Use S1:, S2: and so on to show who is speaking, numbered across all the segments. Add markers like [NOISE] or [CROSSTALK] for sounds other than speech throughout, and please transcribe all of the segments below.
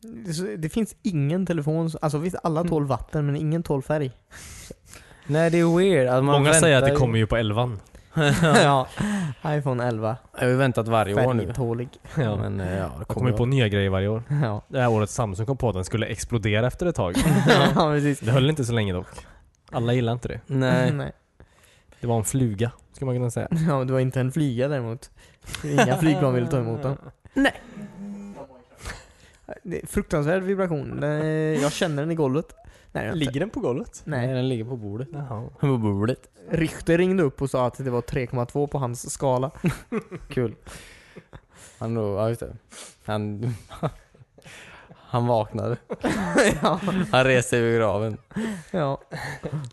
S1: Det, så- det finns ingen telefon, som- alltså visst alla tål vatten men ingen tål färg.
S2: Nej, det är weird. Att man
S3: Många säger att det
S2: väntar-
S3: kommer ju på elvan.
S2: [LAUGHS]
S1: ja. [LAUGHS] iPhone 11,
S2: Jag har ju väntat varje år nu.
S1: färgtålig.
S3: Ja.
S2: Men eh, ja, det
S3: Jag kommer ju på nya grejer varje år.
S1: Ja.
S3: Det här året Samsung kom på att den skulle explodera efter ett tag.
S1: ja, precis.
S3: Det höll inte så länge dock. Alla gillar inte det.
S2: Nej.
S1: Mm, Nej.
S3: Det var en fluga, skulle man kunna säga.
S1: Ja, men det var inte en flyga däremot. Inga flygplan ville ta emot dem. Det är fruktansvärd vibration. Den är- Jag känner den i golvet. Nej, jag inte.
S3: den på golvet?
S1: Nej.
S2: den ligger på bordet.
S3: Jaha.
S2: [LAUGHS]
S3: [LAUGHS]
S2: På bordet.
S1: Richter ringde upp och sa att det var 3,2 på hans skala.
S2: Kul. Han då, ja just det. Han... [LAUGHS] Han vaknade.
S1: ja.
S2: Han reste ur graven.
S1: ja.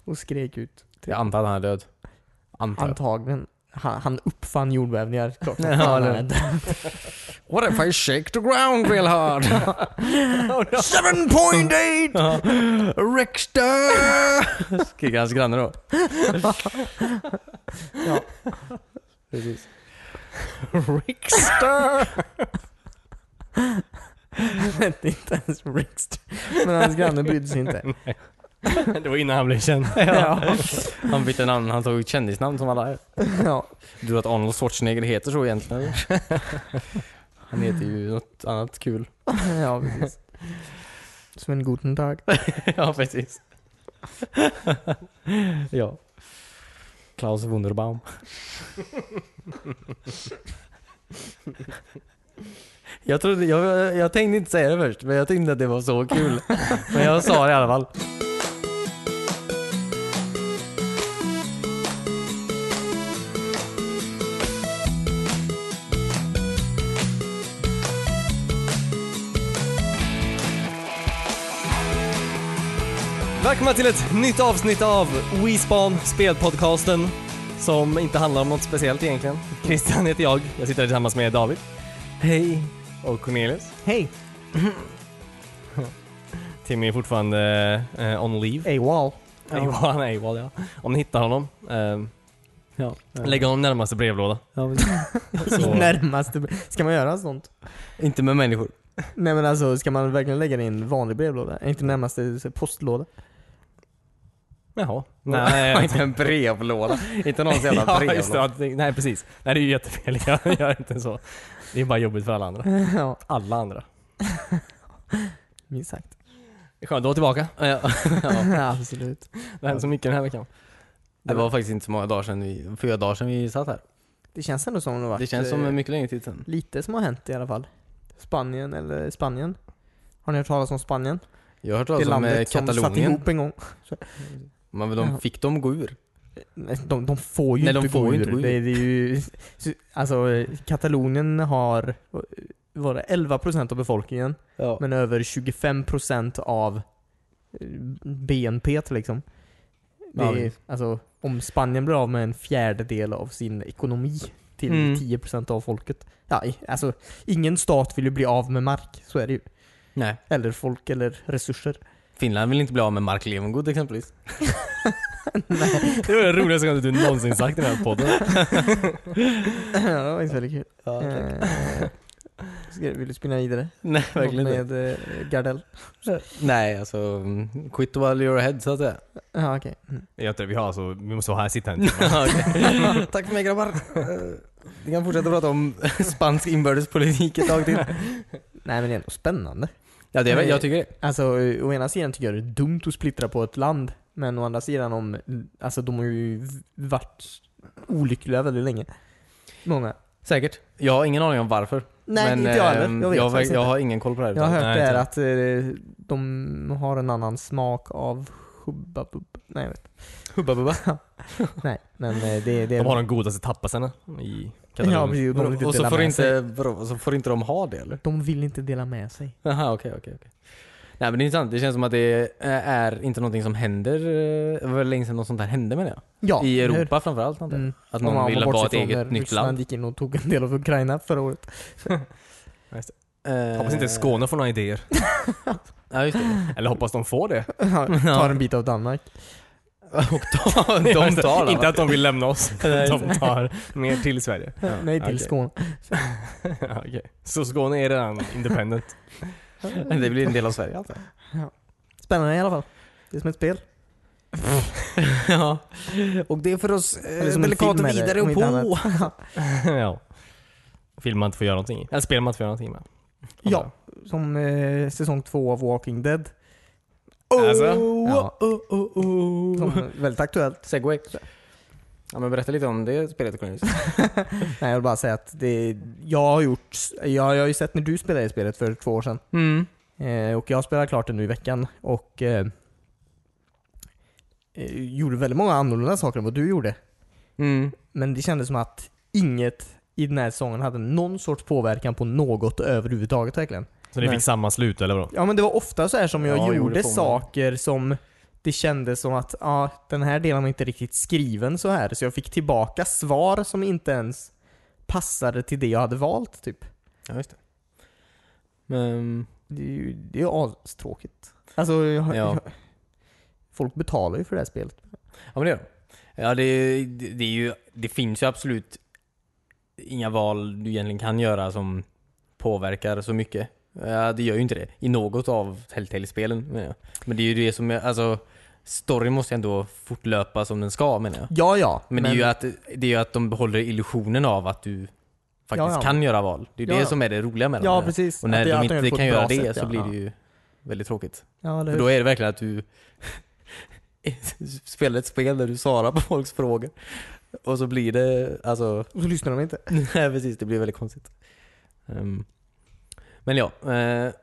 S1: Och skrek ut.
S2: Jag antar att han är död. Antar jag.
S1: Antagligen. Han, han uppfann jordbävningar.
S2: [LAUGHS]
S1: Klart som
S2: Ja,
S1: fan
S2: eller-
S1: han är död.
S2: What if I shake the ground real [LAUGHS] hard? 7.8! Richter! Skriker hans granne då.
S1: Ja.
S2: Precis. Rickster!
S1: Det är [LAUGHS] inte ens Rickster. Men hans granne brydde sig
S2: [LAUGHS]
S1: inte.
S3: Det var innan han blev känd.
S1: Ja.
S2: Han bytte namn, han tog ett kändisnamn som alla är.
S1: ja. [LAUGHS]
S2: Du tror att Arnold Schwarzenegger heter så egentligen [LAUGHS] eller? Han heter ju något annat kul.
S1: Ja, precis. Sven Guten Tag.
S2: [LAUGHS] ja, precis. ja. Klaus Wunderbaum. [LAUGHS] jag, trodde, jag, jag tänkte inte säga det först, men jag tänkte att det var så kul. men jag sa det i alla fall.
S3: Välkomna till ett nytt avsnitt av WeSpan, spelpodcasten. Som inte handlar om något speciellt egentligen. Christian heter jag. Jag sitter här tillsammans med David. Hej. Och Cornelius.
S1: Hej!
S3: Timmy är fortfarande eh, on leave.
S1: AWOL.
S3: Ja. Han är AWOL, ja. Om ni hittar honom, eh,
S2: Ja.
S3: lägg honom närmaste brevlåda. Så-
S1: Närmaste... Ska man göra sånt?
S2: Inte med människor.
S1: Nej men alltså, ska man verkligen lägga det i en vanlig brevlåda? Inte närmaste så, postlåda? [LAUGHS]
S3: Jaha.
S2: Och
S3: [LAUGHS]
S2: [LAUGHS]
S3: Nej,
S2: inte en brevlåda. inte någons jävla
S3: [LAUGHS] ja, just det,
S2: brevlåda.
S3: ja, det- nej precis. Nej det är ju jättefel, [LAUGHS] jag gör inte så. Det är bara jobbigt för alla andra.
S1: ja,
S3: Alla andra.
S1: minst sagt.
S3: Skönt att vara tillbaka.
S2: Ja.
S1: [LAUGHS] Absolut.
S3: Det hände så mycket den här veckan.
S2: Det var faktiskt inte så många dagar sedan vi, fyra dagar sedan vi satt här.
S1: Det känns ändå som det har varit
S2: Det
S1: eh,
S2: känns som mycket längre tid sedan.
S1: lite som har hänt i alla fall. Spanien, eller Spanien. Har ni hört talas om Spanien?
S2: Jag har hört
S1: det
S2: talas om eh,
S1: landet som satt
S2: Katalonien.
S1: ihop en gång.
S2: Men
S1: Ja.
S2: de fick de gå ur?
S1: Nej, De, de får ju
S2: Nej, de
S1: inte,
S2: får
S1: gå
S2: ju inte gå
S1: ur.
S2: ur.
S1: Det, är- det är ju, alltså, eh, Katalonien har var det 11% av befolkningen,
S2: Ja.
S1: men över 25% av eh, BNP liksom. Det
S2: Ja,
S1: är,
S2: visst.
S1: alltså, om Spanien blir av med en fjärdedel av sin ekonomi till
S2: Mm.
S1: 10% av folket. Ja, i- alltså, ingen stat vill ju bli av med mark, så är det ju.
S2: Nej.
S1: Eller folk eller resurser. [LAUGHS]
S2: Finland vill inte bli av med Mark Levengood exempelvis.
S3: Det var det roligaste gången du någonsin sagt i den
S1: [LAUGHS]
S3: här podden.
S1: det var inte väldigt kul.
S2: Ja,
S1: Eh, ska- vill du spinna vidare?
S2: Nej, verkligen
S1: Något
S2: inte.
S1: med eh, Gardell?
S2: Nej, alltså mm, quit while you're ahead så att [LAUGHS] säga.
S1: Ja, okej. Mm.
S3: Jag inte, vi har alltså, vi måste vara här, sitta en timme.
S2: Okej. [LAUGHS] Tack för mig grabbar. Eh, Vi kan fortsätta prata om [LAUGHS] spansk inbördespolitik ett tag till.
S1: Nej men det är ändå spännande.
S2: Ja, det är, väl- jag tycker det.
S1: Alltså eh, å ena sidan tycker jag det är dumt att splittra på ett land. Men å andra sidan om, alltså de har ju v- varit olyckliga väldigt länge. Många.
S2: Säkert. Jag har ingen aning om varför. ehm,
S1: Nej inte jag heller. eh, Jag vet
S2: jag,
S1: faktiskt
S2: jag
S1: inte.
S2: har ingen koll på det här.
S1: Jag har
S2: utan-
S1: hört
S3: Nej,
S1: det här
S3: inte.
S1: att eh, de har en annan smak av hubba bubba. Nej jag vet
S2: Hubba bubba.
S1: [LAUGHS] Nej men eh, det, det är...
S3: De har de godaste tapasarna i
S1: ja,
S3: Katalonien.
S1: precis, de vill inte
S2: Och så
S1: dela
S2: får
S1: med sig.
S2: inte, vadå, och så får inte de ha det eller?
S1: De vill inte dela med sig.
S2: Jaha, okej, okej. okej. Nej men det är intressant. Det känns som att det eh, är inte någonting som händer. eh, Det var länge sedan något sånt här hände menar jag.
S1: Ja,
S2: I
S1: eller hur?
S2: Europa framförallt antar jag.
S1: Mm.
S2: Att
S1: Om man
S2: någon vill
S1: bortser
S2: ha ett
S1: från
S2: eget
S1: när
S2: nytt land.
S1: Ryssland gick in och tog en del av Ukraina förra
S2: [LAUGHS]
S1: året.
S2: Eh,
S3: Hoppas inte Skåne får några [LAUGHS] idéer.
S2: [LAUGHS] Ja just det.
S3: Eller hoppas de får det.
S1: Tar en bit av Danmark.
S2: [LAUGHS] Och [LAUGHS] ta,
S3: [LAUGHS]
S2: de tar alla.
S3: Inte att de vill lämna oss. De tar mer till Sverige.
S1: Nej till
S3: okej. [LAUGHS]
S1: Skåne.
S3: Ja, okej. Så Skåne är redan independent.
S2: [LAUGHS] Det blir en del av Sverige alltså.
S1: Spännande i alla fall. Det är som ett spel.
S2: [LAUGHS] Eh, ja. Och det är för eh, oss
S1: Eller som en film är det, om inte annat.
S3: [LAUGHS] ja. Film man inte får göra någonting i. Eller spel man inte får göra någonting med.
S1: Ja, som eh, säsong två av Walking Dead.
S3: Alltså?
S1: Ja.
S2: oh, oh, [LAUGHS] oh.
S1: Som är väldigt aktuellt.
S2: Segway. Ja men berätta lite om det spelet Cornelius.
S1: Nej, jag vill bara säga att det, jag har gjort, jag, jag har ju sett när du spelade i spelet för två år sedan.
S2: Mm.
S1: Eh, och jag spelade klart det nu i veckan och eh, eh, gjorde väldigt många annorlunda saker än vad du gjorde.
S2: Mm.
S1: Men det kändes som att inget i den här säsongen hade någon sorts påverkan på något överhuvudtaget verkligen.
S3: Så ni
S1: Nej.
S3: fick samma slut eller vadå?
S1: Ja men det var ofta så här som jag
S2: Ja, gjorde
S1: gjorde
S2: på mig.
S1: saker som det kändes som att ja, den här delen var inte riktigt skriven så här. Så jag fick tillbaka svar som inte ens passade till det jag hade valt typ.
S2: Ja just det. Men,
S1: Det är ju det är ju astråkigt. Alltså, jag,
S2: Ja.
S1: jag, folk betalar ju för det här spelet.
S2: ja men det gör de. Ja det, det, det, är ju, det finns ju absolut inga val du egentligen kan göra som påverkar så mycket. Ja, det gör ju inte det. I något av Telltale-spelen menar jag. Men det är ju det som, är, alltså storyn måste ju ändå fortlöpa som den ska menar jag.
S1: Ja, ja.
S2: Men, det är ju att, det är ju att de behåller illusionen av att du faktiskt
S1: Ja, ja.
S2: kan göra val. Det är ju
S1: Ja,
S2: det
S1: ja.
S2: som är det roliga med
S1: Ja,
S2: dem.
S1: precis.
S2: Och
S1: Att
S2: när
S1: det- att
S2: de
S1: gör det
S2: inte
S1: på
S2: kan
S1: ett bra
S2: göra det
S1: sätt,
S2: så
S1: ja.
S2: blir det ju väldigt tråkigt.
S1: Ja, eller
S2: För
S1: hur?
S2: då är det verkligen att du [LAUGHS] spelar ett spel där du svarar på folks frågor. Och så blir det, alltså, [LAUGHS]
S1: Och så lyssnar de inte.
S2: nej precis, det blir väldigt konstigt. Ehm, men ja, eh,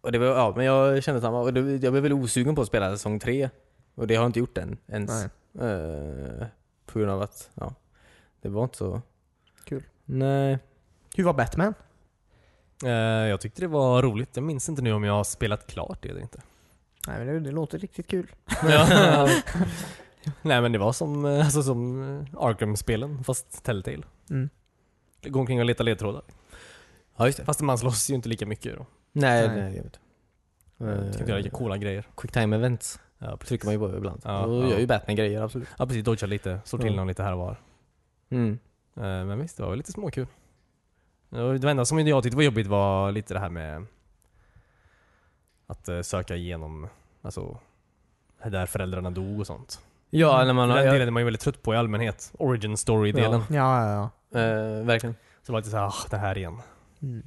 S2: och det var, ja, men jag kände samma. Och det, jag blev väl osugen på att spela säsong tre. Och det har jag inte gjort än, ens.
S1: Nej.
S2: Eh, på grund av att, ja. Det var inte så...
S1: Kul.
S2: Nej.
S1: Hur var Batman?
S3: Eh, jag tyckte det var roligt. Jag minns inte nu om jag har spelat klart det eller [LAUGHS] inte.
S1: Nej men det, det låter riktigt kul.
S3: Ja. [LAUGHS] Nej men det var som, eh, alltså, som eh, Arkham-spelen fast Telltale.
S1: Mm.
S3: Gå omkring och leta ledtrådar.
S2: Ja, just det.
S3: Fast man slåss ju inte lika mycket då.
S2: Nej,
S1: Nej.
S2: nej. jag vet. Eh,
S3: Du kan inte göra lika coola grejer.
S2: Quick time events
S3: Ja, precis.
S2: trycker man ju på ibland.
S3: Ja,
S2: Då
S3: ja.
S2: gör ju Batman grejer, absolut.
S3: Ja precis, dodga lite, slå till
S2: Mm.
S3: någon lite här och var.
S2: Mm.
S3: Eh, Men visst, det var väl lite småkul. Och Det enda som jag tyckte var jobbigt var lite det här med att eh, söka igenom, alltså där föräldrarna dog och sånt. Mm.
S2: Ja, när man har...
S3: Den
S2: Ja,
S3: delen är man ju väldigt trött på i allmänhet. Origin story-delen.
S2: Ja.
S1: Ja, ja, ja.
S2: eh, verkligen.
S3: Så det var lite såhär, ah, det här igen.
S1: Mm.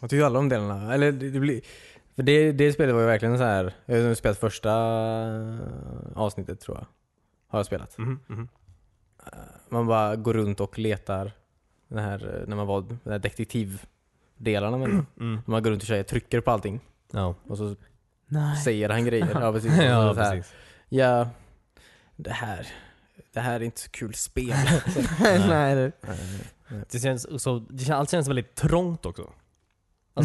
S2: Jag tycker alla om delarna. Eller det, det blir... För det, det spelet var ju verkligen så här. Jag har spelat första eh, avsnittet tror jag. Har jag spelat.
S3: Mhm, mhm.
S2: Eh, Man bara går runt och letar. Den här, eh, när man var den här detektivdelarna med det.
S3: Mm.
S2: Man går runt och tjejer, trycker på allting.
S3: Ja.
S2: Och så
S1: Nej.
S2: säger han [LAUGHS] grejer. Ja, precis.
S3: [LAUGHS] ja,
S2: så här,
S3: precis.
S2: ja, det här. Det här är inte så kul [LAUGHS] spel.
S1: [LAUGHS] Nej, det,
S3: Det känns, så, det känns, allt känns väldigt trångt också. Alltså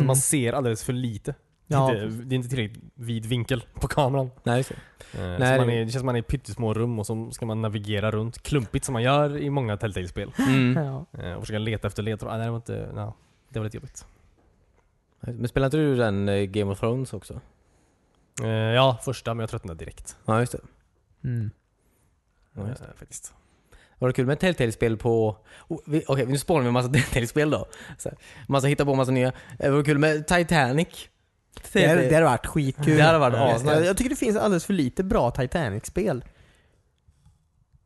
S1: Mm.
S3: man ser alldeles för lite.
S1: ja,
S3: Det, är inte, det är inte tillräckligt vid vinkel på kameran.
S2: Nej, just det.
S3: Eh,
S2: Nej,
S3: så man
S2: det-
S3: är, det känns som man är i pyttesmå rum och så ska man navigera runt klumpigt som man gör i många Telltale-spel.
S2: Mm.
S1: ja.
S3: Eh, Och försöka leta efter ledtrådar. Ah, nej, det var inte... No, det var lite jobbigt.
S2: Men spelar inte du den eh, Game of Thrones också?
S3: Eh, Ja, första, men jag tröttnade direkt.
S2: Ja, just det.
S1: Mm.
S2: Ja, just
S3: Eh, Faktiskt.
S2: Var det kul med ett Telltale-spel på... Oh, vi- Okej, nu spånar vi en massa [LAUGHS] Telltale-spel då. Så här, massa hittar på massa nya. Eh, Var det kul med Titanic?
S1: Det, hade- det hade varit skitkul.
S2: Det hade varit
S1: Ja,
S2: asnice.
S1: jag, jag tycker det finns alldeles för lite bra Titanic-spel.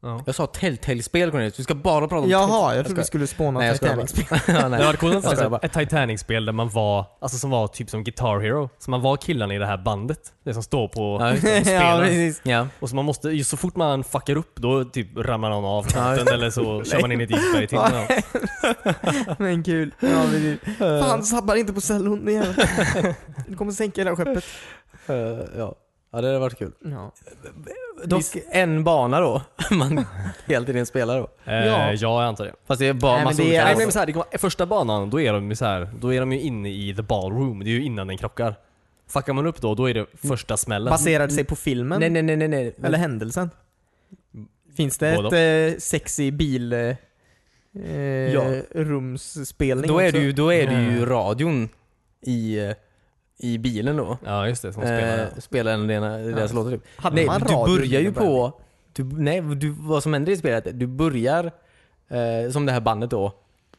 S3: Ja.
S2: Jag sa Telltale-spel Cornelius, du ska bara prata om
S1: Jaha, jag
S2: jag
S1: trodde vi
S2: skojar.
S1: skulle spåna
S2: Nej jag skojar bara.
S1: Titanic.
S2: [LAUGHS] ja,
S1: [LAUGHS]
S3: Det
S2: nej.
S3: hade varit coolt om det
S2: Jag
S3: fanns
S2: skojar
S3: ett- ett Titanic-spel där man var, alltså som var typ som Guitar Hero. Så man var killarna i det här bandet. Det som står på
S2: Ja, just
S3: [LAUGHS] och
S1: [LAUGHS]
S2: det.
S1: ja,
S3: spelar.
S1: precis.
S2: Ja.
S3: och så man måste, just så fort man fuckar upp då typ ramlar någon av kanten eller så kör man in i ett
S2: [LAUGHS]
S3: isberg till.
S1: Ja. Men kul. Ja, precis. Fan, sabbar inte på cellon igen. Du kommer sänka hela skeppet.
S2: Eh, ja. ja, det hade varit kul. [LAUGHS]
S1: Ja.
S2: Dock en bana då. Man hela tiden spelar då.
S3: Eh,
S1: Ja.
S3: ja, jag antar det.
S2: Fast det är bara
S1: Nej, men
S2: massa
S1: det är-
S2: olika...
S3: Nej,
S1: Alltså-
S3: nej, men så här, det kan vara, första banan, då är de ju så här, då är de ju inne i the ballroom. Det är ju innan den krockar. Fuckar man upp då, då är det första smällen.
S1: Baserade sig på filmen?
S2: nej, nej, nej, nej, nej.
S1: Eller händelsen? Finns det
S3: Både
S1: ett eh, sexy bil... Eh,
S2: Ja.
S1: rumsspelning
S2: Då är
S1: också? Mm.
S2: det ju, då är det ju radion i, eh, i bilen då.
S3: Ja, just det. Som
S2: Eh,
S3: spelare.
S2: spelar en av dina- deras
S1: Ja.
S2: låtar typ.
S1: Hade
S2: Nej,
S1: man
S2: du
S1: radio
S2: börjar ju
S1: innan början?
S2: på... Du, nej, du, vad som händer i spelet, du börjar eh, som det här bandet då.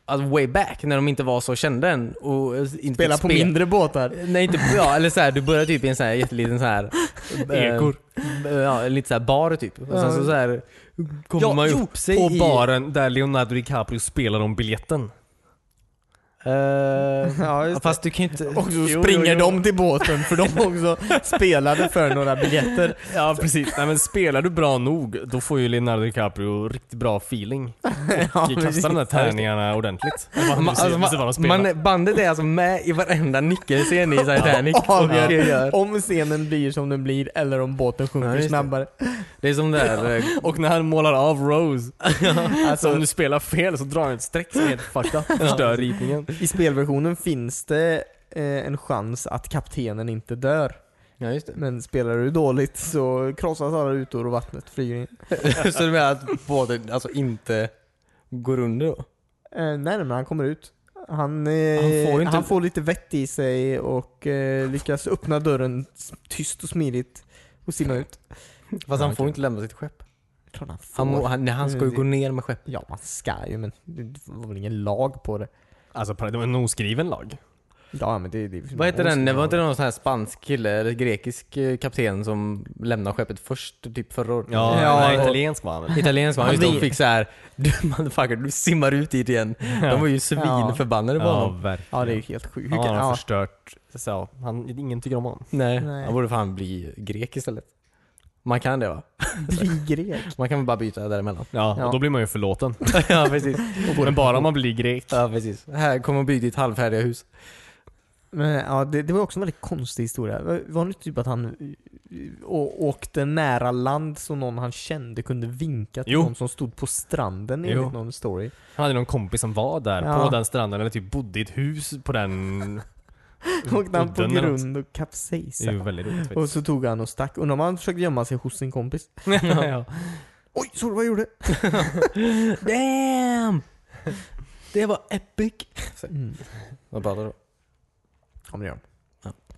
S2: alltså way back, när de inte var så kända än. Och eh, inte
S1: Spela
S2: fick
S1: på
S2: spel.
S1: mindre [LAUGHS] båtar.
S2: Nej inte, ja eller såhär, du börjar typ i en sån här jätteliten
S1: [LAUGHS]
S2: så här eh,
S1: Ekor.
S2: b- Ja, lite såhär bar typ. Och sen så, så här kommer man ju
S3: jo,
S2: upp sig
S3: på
S2: i...
S1: [LAUGHS]
S3: baren där Leonardo DiCaprio spelar om biljetten.
S2: Eh,
S1: Ja,
S2: ja,
S1: just
S2: fast du kan ju inte...
S1: det. [LAUGHS] Och så
S2: Jo,
S1: springer
S2: jo, jo.
S1: de till båten för [LAUGHS] de också spelade för några biljetter.
S3: [LAUGHS] Ja precis, nej men spelar du bra nog då får ju Leonardo DiCaprio riktigt bra feeling.
S1: Ja,
S3: Och
S1: precis.
S3: kastar de där tärningarna ordentligt. Eller vad han
S2: Man,
S3: nu ser- ser vad han
S2: alltså,
S3: spelar.
S2: man, man, bandet är alltså med i varenda nyckelscen i
S1: [LAUGHS]
S2: Titanic.
S1: avgör
S2: Och gör.
S1: om scenen blir som den blir eller om båten
S2: Ja,
S1: sjunker
S2: just det.
S1: snabbare.
S2: Det är som det där... eh,
S3: Och när han målar av Rose, alltså om
S1: [LAUGHS] Alltså,
S3: du spelar fel så drar han ett streck som är helt fucked up. Förstör ritningen.
S1: I spelversionen finns det eh, en chans att kaptenen inte dör.
S2: Ja just det.
S1: Men spelar du dåligt så krossas alla rutor och vattnet flyger in.
S2: [LAUGHS] så du menar att båten alltså inte går under då?
S1: Eh, nej, nej, men han kommer ut. Han, eh,
S2: Han
S1: han,
S2: får
S1: får lite
S2: inte-
S1: vett i sig och eh, lyckas öppna dörren s- tyst och smidigt och simma ut.
S2: Fast
S3: Ja,
S2: han får
S3: okej.
S2: inte lämna sitt skepp. Mm.
S1: Klart han får.
S2: Han, må, han, nej, han ska ju gå ner med skeppet.
S1: Ja, man ska ju men det det var väl ingen lag på det.
S3: Alltså det var en oskriven lag.
S1: Ja, men det, det
S2: Vad heter den? Det var inte någon sån här spansk kille eller grekisk eh, kapten som lämnade skeppet först typ förra året?
S3: Ja,
S1: Ja,
S3: nej,
S1: och-
S3: italiensk var han väl?
S2: Italiensk man, just de
S1: vi-
S2: fick såhär [LAUGHS] Du motherfucker, du simmar ut dit igen. De var ju svinförbannade på honom.
S3: verkligen.
S1: Ja, det är ju helt sjukt.
S3: Ja, han har
S1: Ja,
S3: förstört, så, ja, han, ingen tycker om honom.
S2: Nej,
S1: Nej.
S2: han borde fan bli grek istället. Man kan det va?
S1: bli grek.
S2: Man kan väl bara byta däremellan?
S3: Ja,
S1: Ja.
S3: och då blir man ju [LAUGHS] förlåten.
S2: ja precis.
S3: Men bara om man blir grek.
S2: Ja precis. Här, kom och bygg ditt halvfärdiga hus.
S1: Men, ja, det, det var också en väldigt konstig historia. Var- Var det inte typ att han eh, å- åkte nära land så någon han kände kunde vinka till
S3: Jo.
S1: någon som stod på stranden
S3: Jo. Mm.
S1: enligt någon story?
S3: Han hade någon kompis som var där
S1: Ja.
S3: på den stranden, eller typ bodde i ett hus på [LAUGHS] den...
S1: Åkte han på
S3: udden eller något.
S1: grund och
S3: Det är ju
S1: kapsejsade.
S3: väldigt roligt
S1: Och
S3: faktiskt.
S1: så tog han och stack. Undrar om han försökte gömma sig hos sin kompis.
S3: [LAUGHS] ja.
S1: Oj, såg du vad jag gjorde?
S2: Damn! Det var epic!
S1: Mm.
S2: Vad pratar du om?
S1: Ja, men det gör han.
S2: Ja.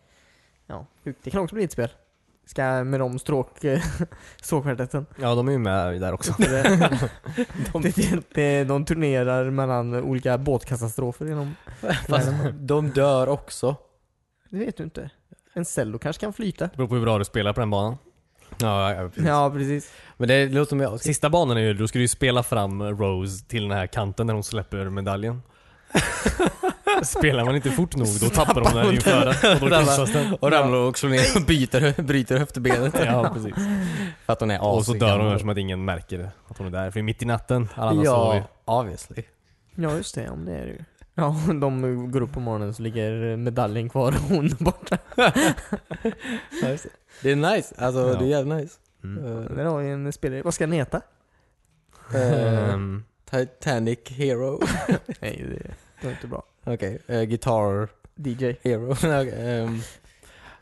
S1: Ja, sjukt. det kan också bli ett spel. Ska med de stråk... [LAUGHS]
S3: [LAUGHS]
S1: stråkvartetten.
S3: ja, de är ju med där
S1: [LAUGHS]
S3: också.
S1: Det- det- [LAUGHS] det- det- De turnerar mellan olika båtkatastrofer genom...
S2: Fast de dör också.
S1: Det vet du inte. En cello kanske kan flyta.
S3: Det beror på hur bra du spelar på den banan.
S2: Ja, ja, precis.
S1: Ja, precis.
S2: Men det låter som jag.
S3: Sista banan är ju, då ska du ju spela fram Rose till den här kanten när hon släpper [LAUGHS] medaljen. Spelar man inte fort nog då tappar hon den inför den och då krossas den.
S2: Och ramlar och slår ner och byter, bryter höftbenet.
S3: Ja, precis.
S2: [LAUGHS] För att hon är
S3: Och så
S2: asig
S3: dör hon
S2: gammal.
S3: eftersom att ingen märker att hon är där. För det är mitt i natten, alla andra sover ju.
S2: Ja, obviously.
S1: Ja, just det. Om det är det ju. Ja, [LAUGHS] de går upp på morgonen så ligger medaljen kvar och hon är borta.
S2: Det är nice, alltså
S3: Ja.
S2: det är jävligt nice.
S3: Mm.
S2: Eh,
S1: [LAUGHS] Där har vi en spelare. Vad ska den heta?
S2: eh,
S3: [LAUGHS] Ehm,
S2: Titanic Hero. [LAUGHS]
S1: Nej, det, det var inte bra.
S2: Okej, eh, Guitar
S1: DJ.
S2: Hero. [LAUGHS] Okej, ehm,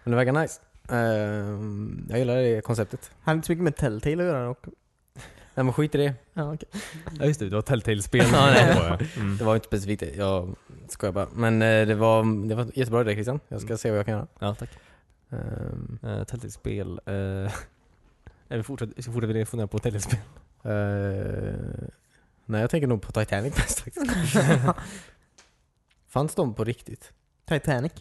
S2: men det verkar nice. Ehm, jag gillar det konceptet.
S1: Han har inte så mycket med Telltale att göra dock.
S2: Nej men skit i det.
S1: Ja, okej.
S3: Ja just det, det var Telltale-spel.
S2: Ja, nej.
S3: Mm.
S2: Det var inte specifikt det, jag skojar bara. Men eh, det, var, det var jättebra det Christian. Jag ska se vad jag kan göra.
S3: Ja, tack.
S2: Ehm,
S3: Uh, Telltale-spel. Uh, vi fortsätter, fortsätter vi fundera på Telltale-spel.
S2: eh, nej jag tänker nog på Titanic mest faktiskt. [LAUGHS] Fanns de på riktigt?
S1: Titanic.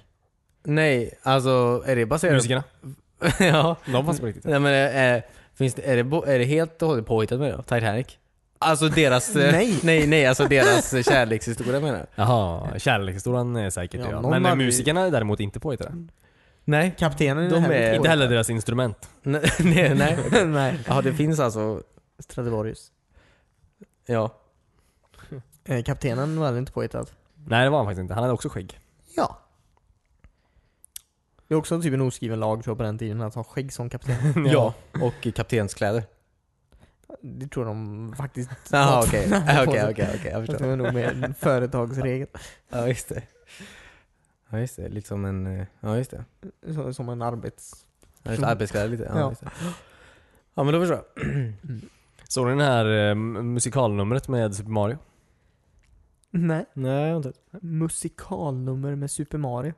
S2: Nej, alltså är det baserat...
S3: [LAUGHS] Musikerna,
S2: [LAUGHS] ja.
S3: de fanns på riktigt.
S2: Nej men eh, eh, finns det, är, det, bo- är det helt och hållet påhittat med det då? Titanic? Alltså deras... eh,
S1: Nej.
S2: [LAUGHS] nej! Nej alltså deras eh, kärlekshistoria menar jag.
S3: Jaha, Eh, kärlekshistorien är säkert
S1: Ja,
S3: ja,
S1: någon
S3: Men
S1: hade-
S3: musikerna är däremot inte påhittade.
S2: Nej.
S1: Kaptenen
S2: De
S1: här
S2: är-
S1: inte
S3: Inte heller deras instrument.
S2: Nej, [LAUGHS] nej. nej.
S1: påhittad. [LAUGHS] Nej.
S2: Ja det finns alltså...
S1: Stradivarius.
S2: Ja.
S1: Eh, Kaptenen var heller inte påhittad.
S3: Nej det var han faktiskt inte, han hade också skägg.
S1: Ja. Det är också typ en oskriven lag tror jag på den tiden, att ha skägg som kapten. [LAUGHS]
S2: Ja. Och kaptenskläder.
S1: Det tror de [LAUGHS] faktiskt.
S2: Jaha Ah, okej. Ja, Okej okej okej, jag
S1: Det
S2: [LAUGHS] förstår.
S1: var nog mer en företagsregel.
S2: Ja just det. Ja just det, lite som en... eh, Ja just det.
S1: Så- Som en arbets...
S2: Ja, just det, Arbetskläder lite. Mm. Ja,
S1: Ja.
S2: just det. ja men då förstår jag.
S3: [CLEARS THROAT] Såg ni det här eh, musikalnumret med Super Mario?
S1: Nej.
S3: Nej, jag inte.
S1: Musikalnummer med Super Mario.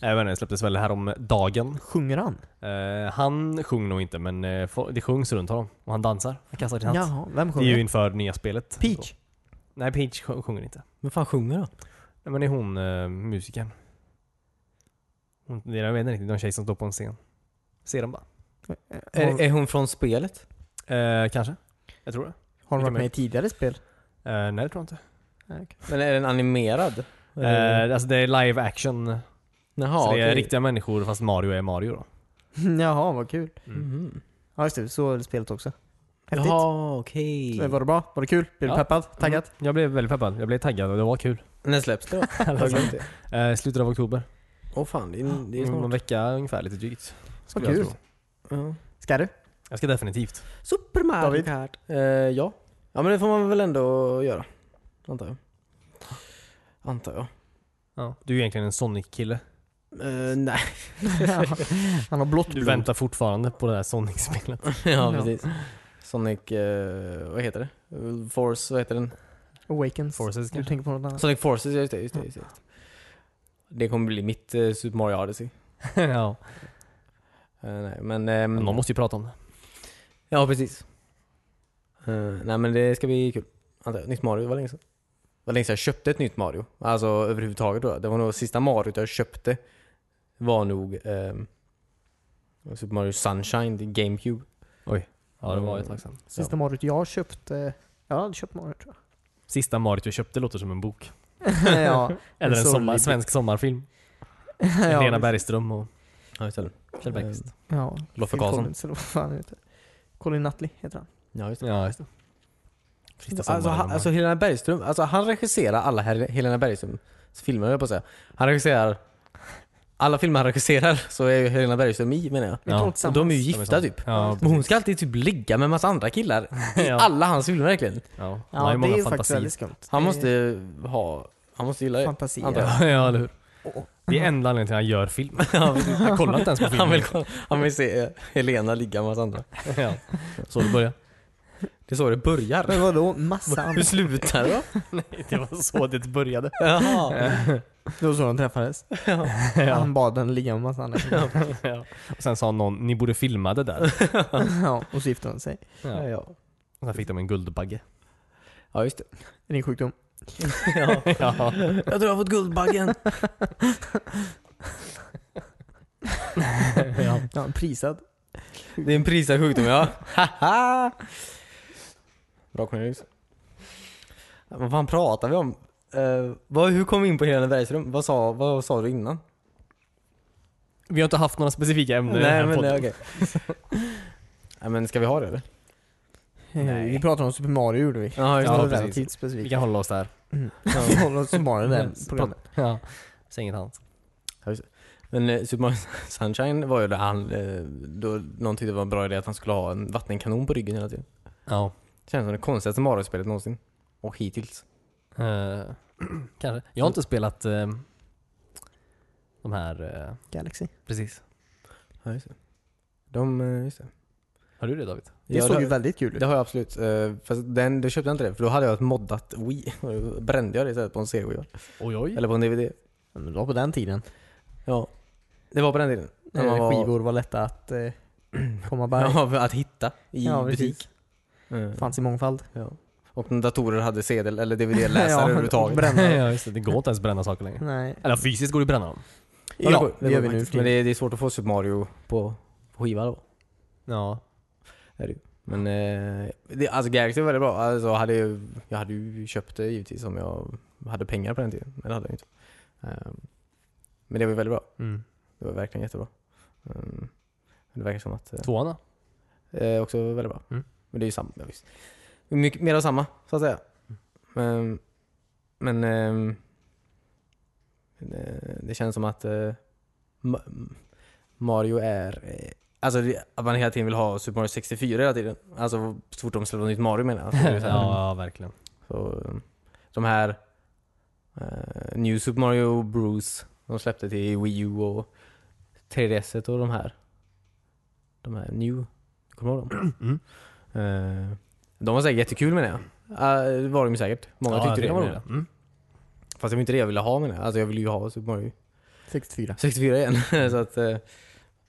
S3: Jag vet inte, det släpptes väl här om dagen.
S1: Sjunger han?
S3: Eh, han sjung nog inte men eh, fo- det sjungs runt honom. Och han dansar. Han kastar sin hatt.
S1: Jaha, vem
S3: Det är ju
S1: sjunger?
S3: inför nya spelet.
S1: Peach?
S3: Nej, Peach sj- sjunger inte.
S2: Men fan sjunger då?
S3: Nej, men det är hon, uh, musikern. Hon, det är- jag vet inte riktigt, någon tjej som står på en scen. Ser dem bara.
S1: Eh,
S2: Är, är hon från spelet?
S3: Eh, kanske. Jag tror det.
S1: Har de
S3: Vilka
S1: varit med i tidigare spel?
S3: Eh, nej, det tror jag inte.
S2: Men är den animerad?
S3: Eh, alltså det är live action.
S2: Jaha,
S3: så det är
S2: okej.
S3: riktiga människor fast Mario är Mario då.
S1: [LAUGHS] Jaha, vad kul.
S2: Mhm.
S1: Ja just det, så är det spelet också. Häftigt.
S2: Jaha, okej.
S1: Eh, Var det bra? Var det kul? Blev du
S3: Ja.
S1: peppad? Taggad?
S3: Mm. Jag blev väldigt peppad. Jag blev taggad och det var kul.
S2: När släpps [LAUGHS] det då?
S3: Alltså, eh, slutet av oktober. Mm,
S2: Åh fan, det är, det är
S3: Om en
S2: snart.
S3: vecka ungefär, lite drygt.
S1: Vad
S3: skulle jag
S1: kul.
S3: tro.
S2: Ja.
S1: Ska
S3: [LAUGHS]
S1: du? [LAUGHS]
S3: Jag ska definitivt.
S2: Mm. Super Mario
S1: David?
S2: Kart. Eh, ja. Ja men det får man väl ändå göra. Antar jag. Antar jag.
S3: Ja. Du är egentligen en Sonic-kille.
S2: Eh, nej.
S1: Han har blått
S3: Du
S1: blod.
S3: väntar fortfarande på det här Sonic-spelet.
S2: ja
S1: Ja.
S2: precis. Sonic, eh, vad heter det? Eh, Force, vad heter den?
S1: Awakens.
S3: Forces
S1: Du
S3: kanske?
S1: tänker på något annat?
S2: Sonic Forces, ja, just det. Just det, just det. just det. Det kommer bli mitt eh, Super Mario Odyssey.
S3: ja.
S2: Eh, nej men... ehm,
S1: Mm.
S3: Någon måste ju prata om det.
S2: Ja, precis. Eh, nej men det ska bli kul. Antar jag. Nytt Mario, det var länge sedan. Det var länge sedan jag köpte ett nytt Mario. Alltså överhuvudtaget då. Det var nog sista Mario jag köpte. Var nog ehm, Super Mario Sunshine till GameCube.
S3: Ja, det var jag tacksam.
S1: Sista Mario jag köpte... Jag [LAUGHS] har aldrig köpt Mario
S3: [LAUGHS]
S1: tror
S3: Sista Mario jag köpte låter som en bok.
S1: jag. ja.
S3: Eller en
S1: Sorglig
S3: sommar,
S1: bok.
S3: svensk sommarfilm.
S1: [LAUGHS] ja, Mm.
S3: Lena Bergström och
S2: Ja, just det.
S3: Kjell Bergqvist.
S1: Ja.
S2: Loffe
S1: Phil
S2: Karlsson.
S1: Collins, eller vad fan han heter. Colin Nutley heter han.
S2: Ja, just det.
S3: Ja, just det. Sista
S2: Alltså,
S3: sommaren.
S2: han, alltså Helena Bergström, alltså han regisserar alla Hel- Helena Bergströms filmer höll jag på att säga. Han regisserar alla filmer han regisserar så är ju Helena Bergström i menar jag.
S1: Vi
S3: Ja,
S1: tar
S3: och
S2: Och
S1: tillsammans.
S2: de är ju gifta typ.
S1: [LAUGHS]
S3: Ja,
S2: Men hon ska alltid typ ligga med en massa andra killar i
S3: Ja.
S2: alla hans filmer verkligen.
S3: ja. Han har
S1: Ja,
S3: ju
S1: det är
S3: många
S1: ju faktiskt
S3: fantasier.
S1: väldigt skumt.
S2: Han
S1: Det är
S2: måste ha, han måste gilla det.
S1: Fantasier.
S2: antar jag.
S3: ja, eller hur?
S1: Och-
S3: Det är enda anledningen till att han
S1: [LAUGHS]
S3: gör film. Han kollar inte ens
S2: [LAUGHS]
S3: på
S2: Han
S3: filmen.
S2: vill, kolla- han vill se eh, Helena ligga med massa andra.
S3: ja. Så det börjar.
S2: Det är så det börjar.
S1: Men vadå,
S2: [LAUGHS]
S1: massa andra?
S2: Hur slutar det då?
S1: [LAUGHS]
S3: Det var så det började.
S2: [LAUGHS] Jaha.
S1: Det var så de träffades.
S3: ja.
S1: Han bad den ligga med massa
S2: [LAUGHS]
S1: andra killar.
S3: [LAUGHS] Ja. Och sen sa någon, ni borde filma det [LAUGHS] där.
S1: ja, och så gifte de sig.
S2: Ja,
S3: Ja.
S2: ja.
S3: Och sen fick de en guldbagge.
S2: ja just det.
S1: Är det en sjukdom?
S2: Ja.
S3: [LAUGHS] Ja.
S2: Jag tror jag har fått Guldbaggen.
S3: Ja.
S1: Ja, prisad.
S2: Det är en prisad sjukdom ja. Haha. [LAUGHS] Bra Cornelius. Vad fan pratar vi om? Eh, vad, hur kom vi in på Helena Bergström? Vad sa, vad sa du innan?
S3: Vi har inte haft några specifika ämnen i den här
S2: men
S3: podden.
S2: nej, okej. [LAUGHS] nej men ska vi ha det eller?
S1: Nej. Eh, Vi pratade om Super Mario gjorde vi.
S2: Ja,
S1: Det
S3: just
S1: var
S3: det.
S1: relativt
S3: Vi
S1: specifikt.
S3: kan hålla oss där.
S1: Vi håller oss till Mario där
S3: Yes.
S1: programmet.
S3: Ja. Säg inget annat.
S2: Men eh, Super Mario Sunshine var ju där han, eh, då någon tyckte det var en bra idé att han skulle ha en vattenkanon på ryggen hela tiden.
S3: Ja.
S2: Känns som det konstigaste Mario-spelet någonsin. Och hittills.
S3: Eh, [CLEARS THROAT] kanske. Jag har inte spelat eh, de här... eh,
S1: Galaxy.
S3: precis.
S2: Ja just det. De, eh, just det.
S3: Har du det David?
S1: Det
S2: Ja,
S1: såg
S2: det-
S1: ju väldigt kul ut.
S2: Det har jag absolut. Uh, fast den, då köpte jag inte det, för då hade jag ett moddat Wii. [LAUGHS] Och då brände jag det istället på en CD-skiva.
S3: Oj oj.
S2: Eller på en DVD.
S1: Men det var på den tiden.
S2: Ja. Det var på den tiden. När man
S1: Eh,
S2: var-
S1: Skivor var lätta att eh, komma by.
S2: [CLEARS THROAT] Ja, för att hitta i
S1: Ja, precis.
S2: butik. Mm.
S1: Fanns i mångfald.
S2: Ja. Och när datorer hade CD eller DVD-läsare överhuvudtaget.
S1: bränna.
S3: [LAUGHS] ja, just det. det går inte ens att bränna saker längre.
S1: Nej.
S3: Eller fysiskt går det att bränna dem.
S1: Ja,
S2: det, går-
S1: det gör
S2: går
S1: vi nu
S2: faktiskt.
S1: för
S2: Men det, det är svårt att få Super Mario på, på skiva då.
S3: Ja.
S2: Men eh, det, alltså Galaxy var väldigt bra. Alltså, hade jag, jag hade ju köpt det givetvis om jag hade pengar på den tiden. Men det hade jag inte. Ehm, men det var väldigt bra.
S3: Mm.
S2: Det var verkligen jättebra. Ehm, men det verkar som att... eh,
S3: Tvåan då?
S2: Eh, också väldigt bra.
S3: Mm.
S2: Men det är ju samma. Ja, visst. Mycket, mer av samma, så att säga. Ehm, men ehm, eh, det känns som att eh, Ma- Mario är... Eh, alltså det, att man hela tiden vill ha Super Mario 64 hela tiden. Alltså så fort de släpper nytt Mario menar jag. Alltså, det är så här.
S3: [LAUGHS] ja, ja, verkligen.
S2: Så, eh, de här eh, New Super Mario Bros. De släppte till Wii U och 3DS et och de här. De här New. Kommer du ihåg dem?
S3: Mm.
S2: Eh, de var säkert jättekul menar jag. Eh, det var de ju säkert. Många
S3: ja,
S2: tyckte det.
S3: kan vara
S2: menar jag.
S3: roligt. Mm.
S2: Fast det var inte det jag ville ha menar jag. Alltså jag ville ju ha Super Mario
S1: 64.
S2: 64 igen. [LAUGHS] så att, eh,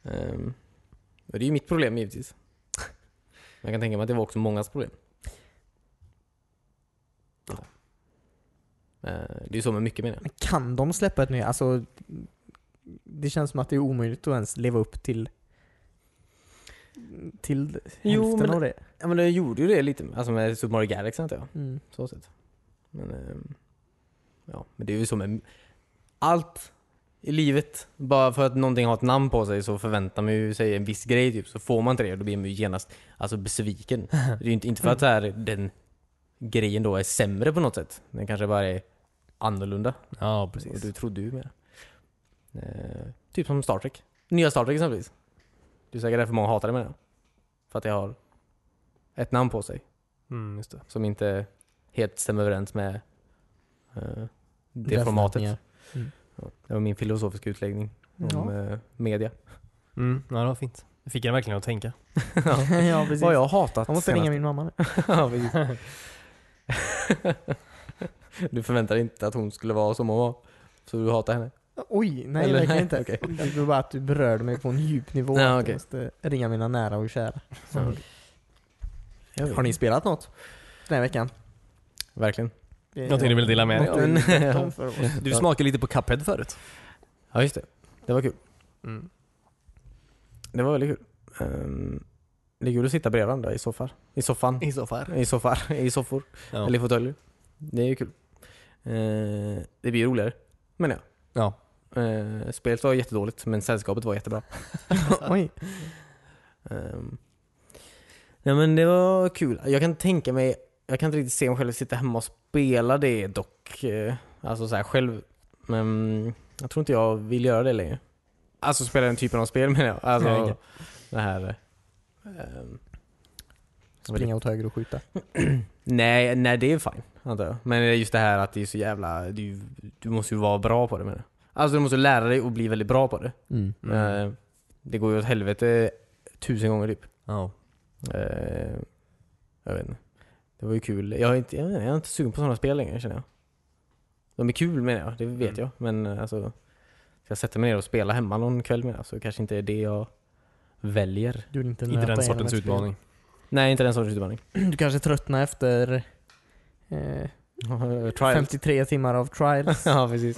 S2: ehm, det är ju mitt problem givetvis. Men jag kan tänka mig att det var också mångas problem. Eh, Det är ju så med mycket menar jag.
S1: Men Kan de släppa ett nytt? Alltså, det känns som att det är omöjligt att ens leva upp till till
S2: Jo,
S1: hälften
S2: men-
S1: av det.
S2: Ja men det gjorde ju det lite, alltså med Super Mario Galaxy antar jag.
S1: Mm.
S2: Så sett. Men, ehm, ja, men det är ju så med allt i livet. Bara för att någonting har ett namn på sig så förväntar man ju sig en viss grej typ. Så får man inte det, då blir man ju genast alltså, besviken. Det är ju inte, inte för att så här, den grejen då är sämre på något sätt. Den kanske bara är annorlunda.
S3: Ja,
S2: Och du trodde ju mer. Eh, typ som Star Trek. Nya Star Trek exempelvis. Det är säkert därför många hatar det med det. För att det har ett namn på sig
S3: Mm, just det.
S2: som inte helt stämmer överens med eh, det
S1: Deras
S2: formatet.
S1: förväntningar.
S2: Ja, Det var min filosofiska utläggning om
S1: Ja.
S2: eh,
S1: [LAUGHS]
S2: media.
S3: Mm, ja, det var fint. Det fick en verkligen att tänka.
S1: ja, precis. Jag
S2: Vad jag har hatat
S1: måste ringa min mamma nu.
S2: Ja, precis. [LAUGHS] du förväntade dig inte att hon skulle vara som hon var. Så du hatar henne?
S1: [LAUGHS] Oj, nej
S2: Eller-
S1: verkligen inte.
S2: okej.
S1: Det var bara att du berörde mig på en djup nivå.
S2: Ja,
S1: att
S2: okej.
S1: Jag måste ringa mina nära och kära.
S2: Ja. Jag vet
S1: Har ni
S2: inte.
S1: spelat något den här veckan?
S2: Verkligen.
S1: Det-
S3: Någonting du vill dela med dig
S1: Något du [LAUGHS]
S2: av?
S1: vill berätta
S2: [LAUGHS]
S1: om för oss?
S3: Du smakade lite på Cuphead förut.
S2: Ja, just det. Det var kul.
S3: Mm.
S2: Det var väldigt kul. Ehm, det är kul att sitta bredvid varandra i soffar. I soffan.
S3: I så fall.
S2: I soffar. I soffor.
S3: Ja.
S2: Eller i fåtöljer. Det är ju kul. Eh, det blir roligare, men ja.
S3: Ja.
S2: Eh, spelet var jättedåligt, men sällskapet var jättebra.
S1: Oj.
S2: Ehm, nej men det var kul. Jag kan tänka mig, jag kan inte riktigt se mig själv sitta hemma och spela det dock. Eh, alltså så här själv. Men jag tror inte jag vill göra det längre. Alltså spela den typen av spel menar jag. Alltså
S1: Ja, okej.
S2: det här... ehm,
S1: Springa åt höger och skjuta.
S2: Nej, nej det är fine, antar jag. Men det är just det här att det är så jävla... Du, du måste ju vara bra på det menar jag. Alltså du måste lära dig och bli väldigt bra på det.
S3: Mm.
S2: Eh, det går ju åt helvete tusen gånger typ.
S3: Ja.
S2: Eh, jag vet inte. Det var ju kul. Jag är inte, jag vet inte, jag är inte sugen på sådana spel längre känner jag. De är kul menar jag, det vet
S3: Mm.
S2: jag. Men eh, alltså, ska jag sätter mig ner och spela hemma någon kväll menar jag, så kanske inte är det jag väljer.
S1: Du vill inte
S3: Inte
S1: nöta
S3: den
S1: igenom
S3: sortens
S1: ett spel.
S3: utmaning.
S2: Nej, inte den sortens
S3: [LAUGHS]
S2: utmaning.
S1: [CLEARS THROAT] Du kanske tröttnar efter eh,
S2: Trials.
S1: 53 timmar av trials
S2: [LAUGHS] ja,
S3: [LAUGHS]
S2: precis.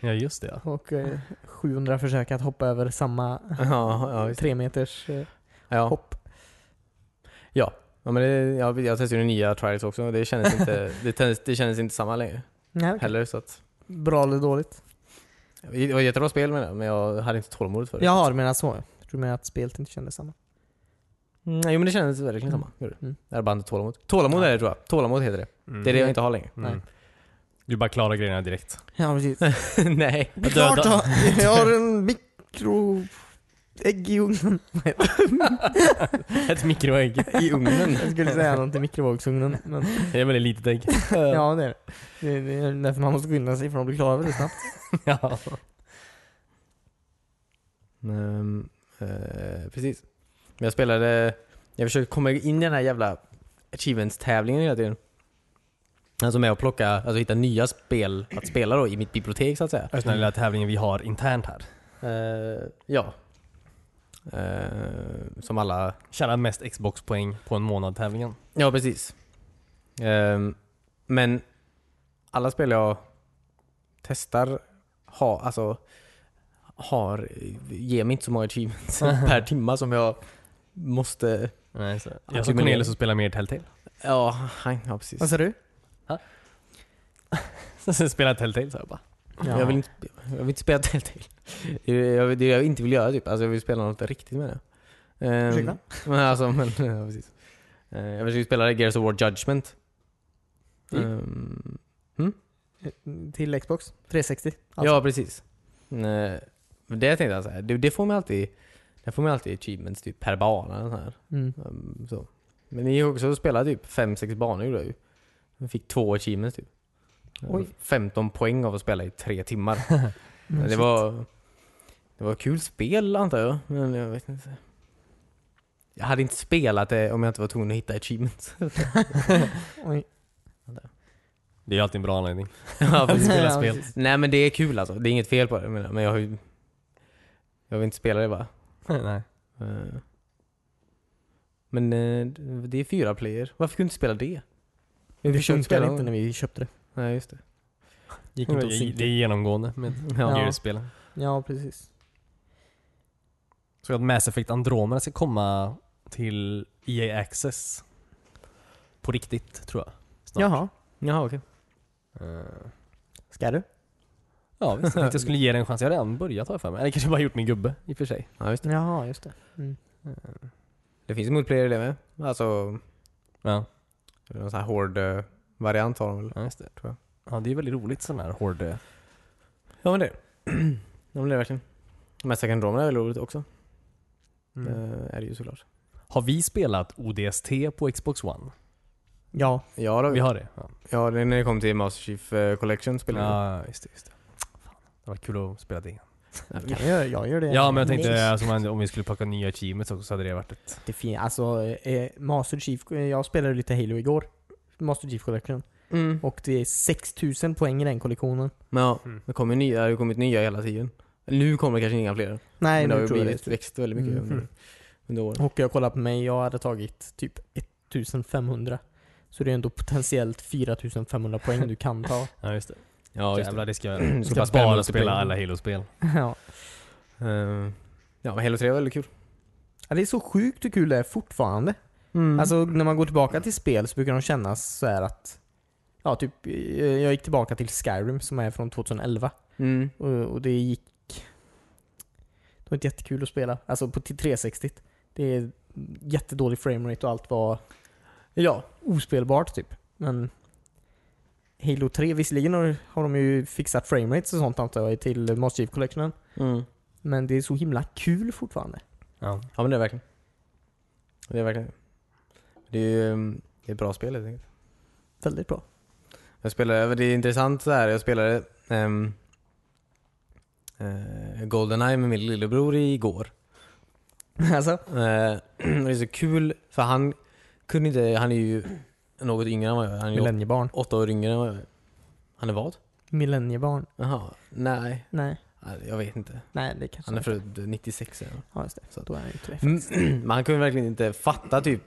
S3: ja, just det ja.
S1: och eh, 700 försök att hoppa över samma
S2: Ja, ja, visst.
S1: tre meters eh,
S2: ja.
S1: hopp.
S2: Ja, men det, jag, jag testade ju nya trials också och det
S1: [LAUGHS]
S2: kändes inte, det, kändes- det kändes inte samma längre
S1: Nej, okej.
S2: heller. Så att,
S1: Bra eller dåligt?
S2: det var ett jättebra spel med det, men jag hade inte tålamodet för det.
S1: Jaha, du menar så. Du menar att spelet inte kändes samma?
S2: Mm, jo men det kändes verkligen samma. gjorde det.
S1: Mm.
S2: Jag hade bara inte tålamod. Tålamod är det tror jag. Tålamod heter det.
S3: Mm.
S2: Det är det jag inte
S1: [LAUGHS]
S2: har längre.
S1: Nej.
S3: Du bara klarar grejerna direkt. [LAUGHS]
S1: Ja,
S2: [LAUGHS]
S1: precis.
S2: Nej.
S1: Det är
S3: Döda-
S1: klart då. Jag har en mikro... Ägg i
S2: [LAUGHS]
S1: ugnen.
S3: Ett mikroägg.
S2: I ugnen.
S1: Jag skulle säga någonting mikrovågsugnen.
S2: [LAUGHS]
S1: Men,
S3: Det är väldigt litet ägg. [LAUGHS]
S1: ja, det är det. det. är- Det är därför man måste skynda sig för de blir klara väldigt snabbt.
S3: ja.
S2: Mm, eh, precis. Men jag spelade... Jag försökte komma in i den här jävla achievements-tävlingen hela tiden. Alltså med att plocka, alltså hitta nya spel att spela då i mitt bibliotek så att säga.
S3: Den här lilla tävlingen vi har internt här.
S2: Eh, ja. Eh, som alla...
S3: Tjäna mest Xbox-poäng på en månad-tävlingen.
S2: Ja, precis. Ehm, men alla spel jag testar ha, alltså, har, ger mig inte så många [LAUGHS] achievements per timma som jag måste...
S3: Nej, så. Alltså,
S2: Ja,
S3: Jag som
S2: men det-
S3: Cornelius och spelar mer Telltale. [LAUGHS]
S2: Ja, han- ja precis.
S1: Vad sa du?
S3: Sen spelar jag Telltale så jag bara.
S2: jag, vill inte, jag vill inte spela Telltale. Det är det jag, det är det jag inte vill göra typ. Alltså, jag vill spela något riktigt med det. Eh,
S1: Ursäkta?
S2: [LAUGHS] men alltså, men, ja, precis. Eh, jag försökte spela Gears of War Judgment.
S1: Mm.
S2: Ehm,
S1: Till Xbox 360? Alltså.
S2: Mm. Ja, precis. Nej, men det tänkte jag så här, det, det får man alltid det får man alltid achievements typ per bana. och Så här.
S1: Mm.
S2: Mm, Så. Men det gick också att spela typ 5-6 banor gjorde jag ju. Jag fick två achievements typ. Jag
S1: Oj.
S2: fick 15 poäng av att spela i tre timmar.
S1: [LAUGHS]
S2: Men det
S1: shit.
S2: var Det var kul spel antar jag, men jag vet inte. Jag hade inte spelat det om jag inte var tvungen att hitta achievements. [LAUGHS]
S1: Oj.
S3: Det är ju alltid en bra anledning.
S2: Ja,
S3: Att
S2: precis.
S3: spela
S1: Ja,
S3: spel.
S1: precis.
S2: Nej men det är kul alltså. Det är inget fel på det menar jag. men jag har ju Jag vill inte spela det bara.
S3: [LAUGHS] Nej.
S2: Eh. Men eh, det är fyra player. Varför kunde du inte spela det?
S1: Det
S2: försökte spela
S1: funkade inte
S2: någon.
S1: när vi köpte det.
S2: Nej, just det.
S1: Gick inte att
S3: Det
S1: synka.
S3: är genomgående med
S1: Ja.
S3: Gears-spelen.
S1: Ja, precis.
S3: Så att Mass Effect Andromeda ska komma till EA Access. På riktigt, tror jag. Snart.
S1: Jaha.
S2: Jaha, okej.
S3: Eh,
S1: Ska du?
S3: ja, visst. Jag tänkte jag skulle ge det en chans. Jag har redan börjat har jag för mig. Eller kanske bara gjort min gubbe, i och för sig.
S2: Ja, just det.
S1: Jaha, just det. Mm.
S3: Eh.
S2: det finns multiplayer i det med. Alltså,
S3: Ja,
S2: det är någon sån här hård eh, variant har de väl?
S3: ja just det. Tror jag. Ja, det är väldigt roligt sån här hård... eh,
S2: Ja men det. [CLEARS THROAT] ja men det är verkligen. Mass Effect Andromeda är väl roligt också.
S3: Mm.
S2: Det är det ju såklart.
S3: eh. Har vi spelat ODST på Xbox One?
S1: Ja.
S2: Ja, då,
S3: Vi har det? Ja,
S2: ja det är när det kom till Master Chief eh, Collection spelade vi.
S3: ja just det. Just det. Fan, det var kul att spela det igen.
S2: Ja,
S1: Kan jag, göra- jag gör det.
S3: Ja, men jag tänkte
S1: Nej.
S3: alltså, om- om vi skulle plocka nya achievements också så hade det varit ett...
S1: Det fin- alltså, eh, Master Chief, eh, jag spelade lite Halo igår. Master Chief Collection.
S2: Mm.
S1: Och det är 6000 poäng i den kollektionen.
S2: Men ja,
S3: Mm.
S2: det kommer ju nya, det har ju kommit nya hela tiden. Nu kommer det kanske inga fler.
S1: Nej,
S2: men det har
S1: nu
S2: ju
S1: tror jag det. är
S2: blivit,
S1: slut.
S2: växt väldigt mycket
S1: Mm.
S2: under, under åren.
S1: Och jag kollade på mig, jag hade tagit typ 1500. Så det är ändå potentiellt 4500 poäng du kan ta.
S3: Ja, just det. Ja,
S2: just
S3: jävlar det [CLEARS THROAT] ska jag
S2: Ska
S3: ska
S2: bara
S3: bara spela
S2: multiplayer.
S3: alla Halo-spel.
S1: [LAUGHS] ja.
S2: Eh, ja, men Halo 3 var väldigt kul.
S1: Ja, det är så sjukt hur kul det är fortfarande.
S2: Mm.
S1: Alltså när man går tillbaka till spel så brukar de kännas så här att... Ja, typ eh, jag gick tillbaka till Skyrim som är från 2011.
S2: Mm.
S1: Och, och det gick... Det var inte jättekul att spela. Alltså på 360. Det är jättedålig framerate och allt var
S2: Ja.
S1: ospelbart typ. Men Halo 3, visserligen har, har de ju fixat framerates och sånt antar jag till Master Chief Collectionen.
S2: Mm.
S1: Men det är så himla kul fortfarande.
S3: Ja.
S2: Ja men det är verkligen. Det är verkligen. Det är ju ehm, det är ett bra spel helt enkelt.
S1: Väldigt bra. [LAUGHS]
S2: Jag spelade, det är intressant så här. jag spelade ehm, eh, Goldeneye med min lillebror igår.
S1: alltså,
S2: Eh, [CLEARS THROAT] och det är så kul för han kunde inte, han är ju något yngre än vad jag är. Han är ju åt-
S1: millenniebarn.
S2: åtta år yngre än vad jag är. Han är vad?
S1: Millenniebarn.
S2: Jaha, nej.
S1: Nej,
S2: Nej, Jag vet inte.
S1: nej det kanske
S2: Han är född 96 är han.
S1: Ja, just det. Så då är han ju inte det.
S2: Mm, [CLEARS THROAT] Men han kunde verkligen inte fatta typ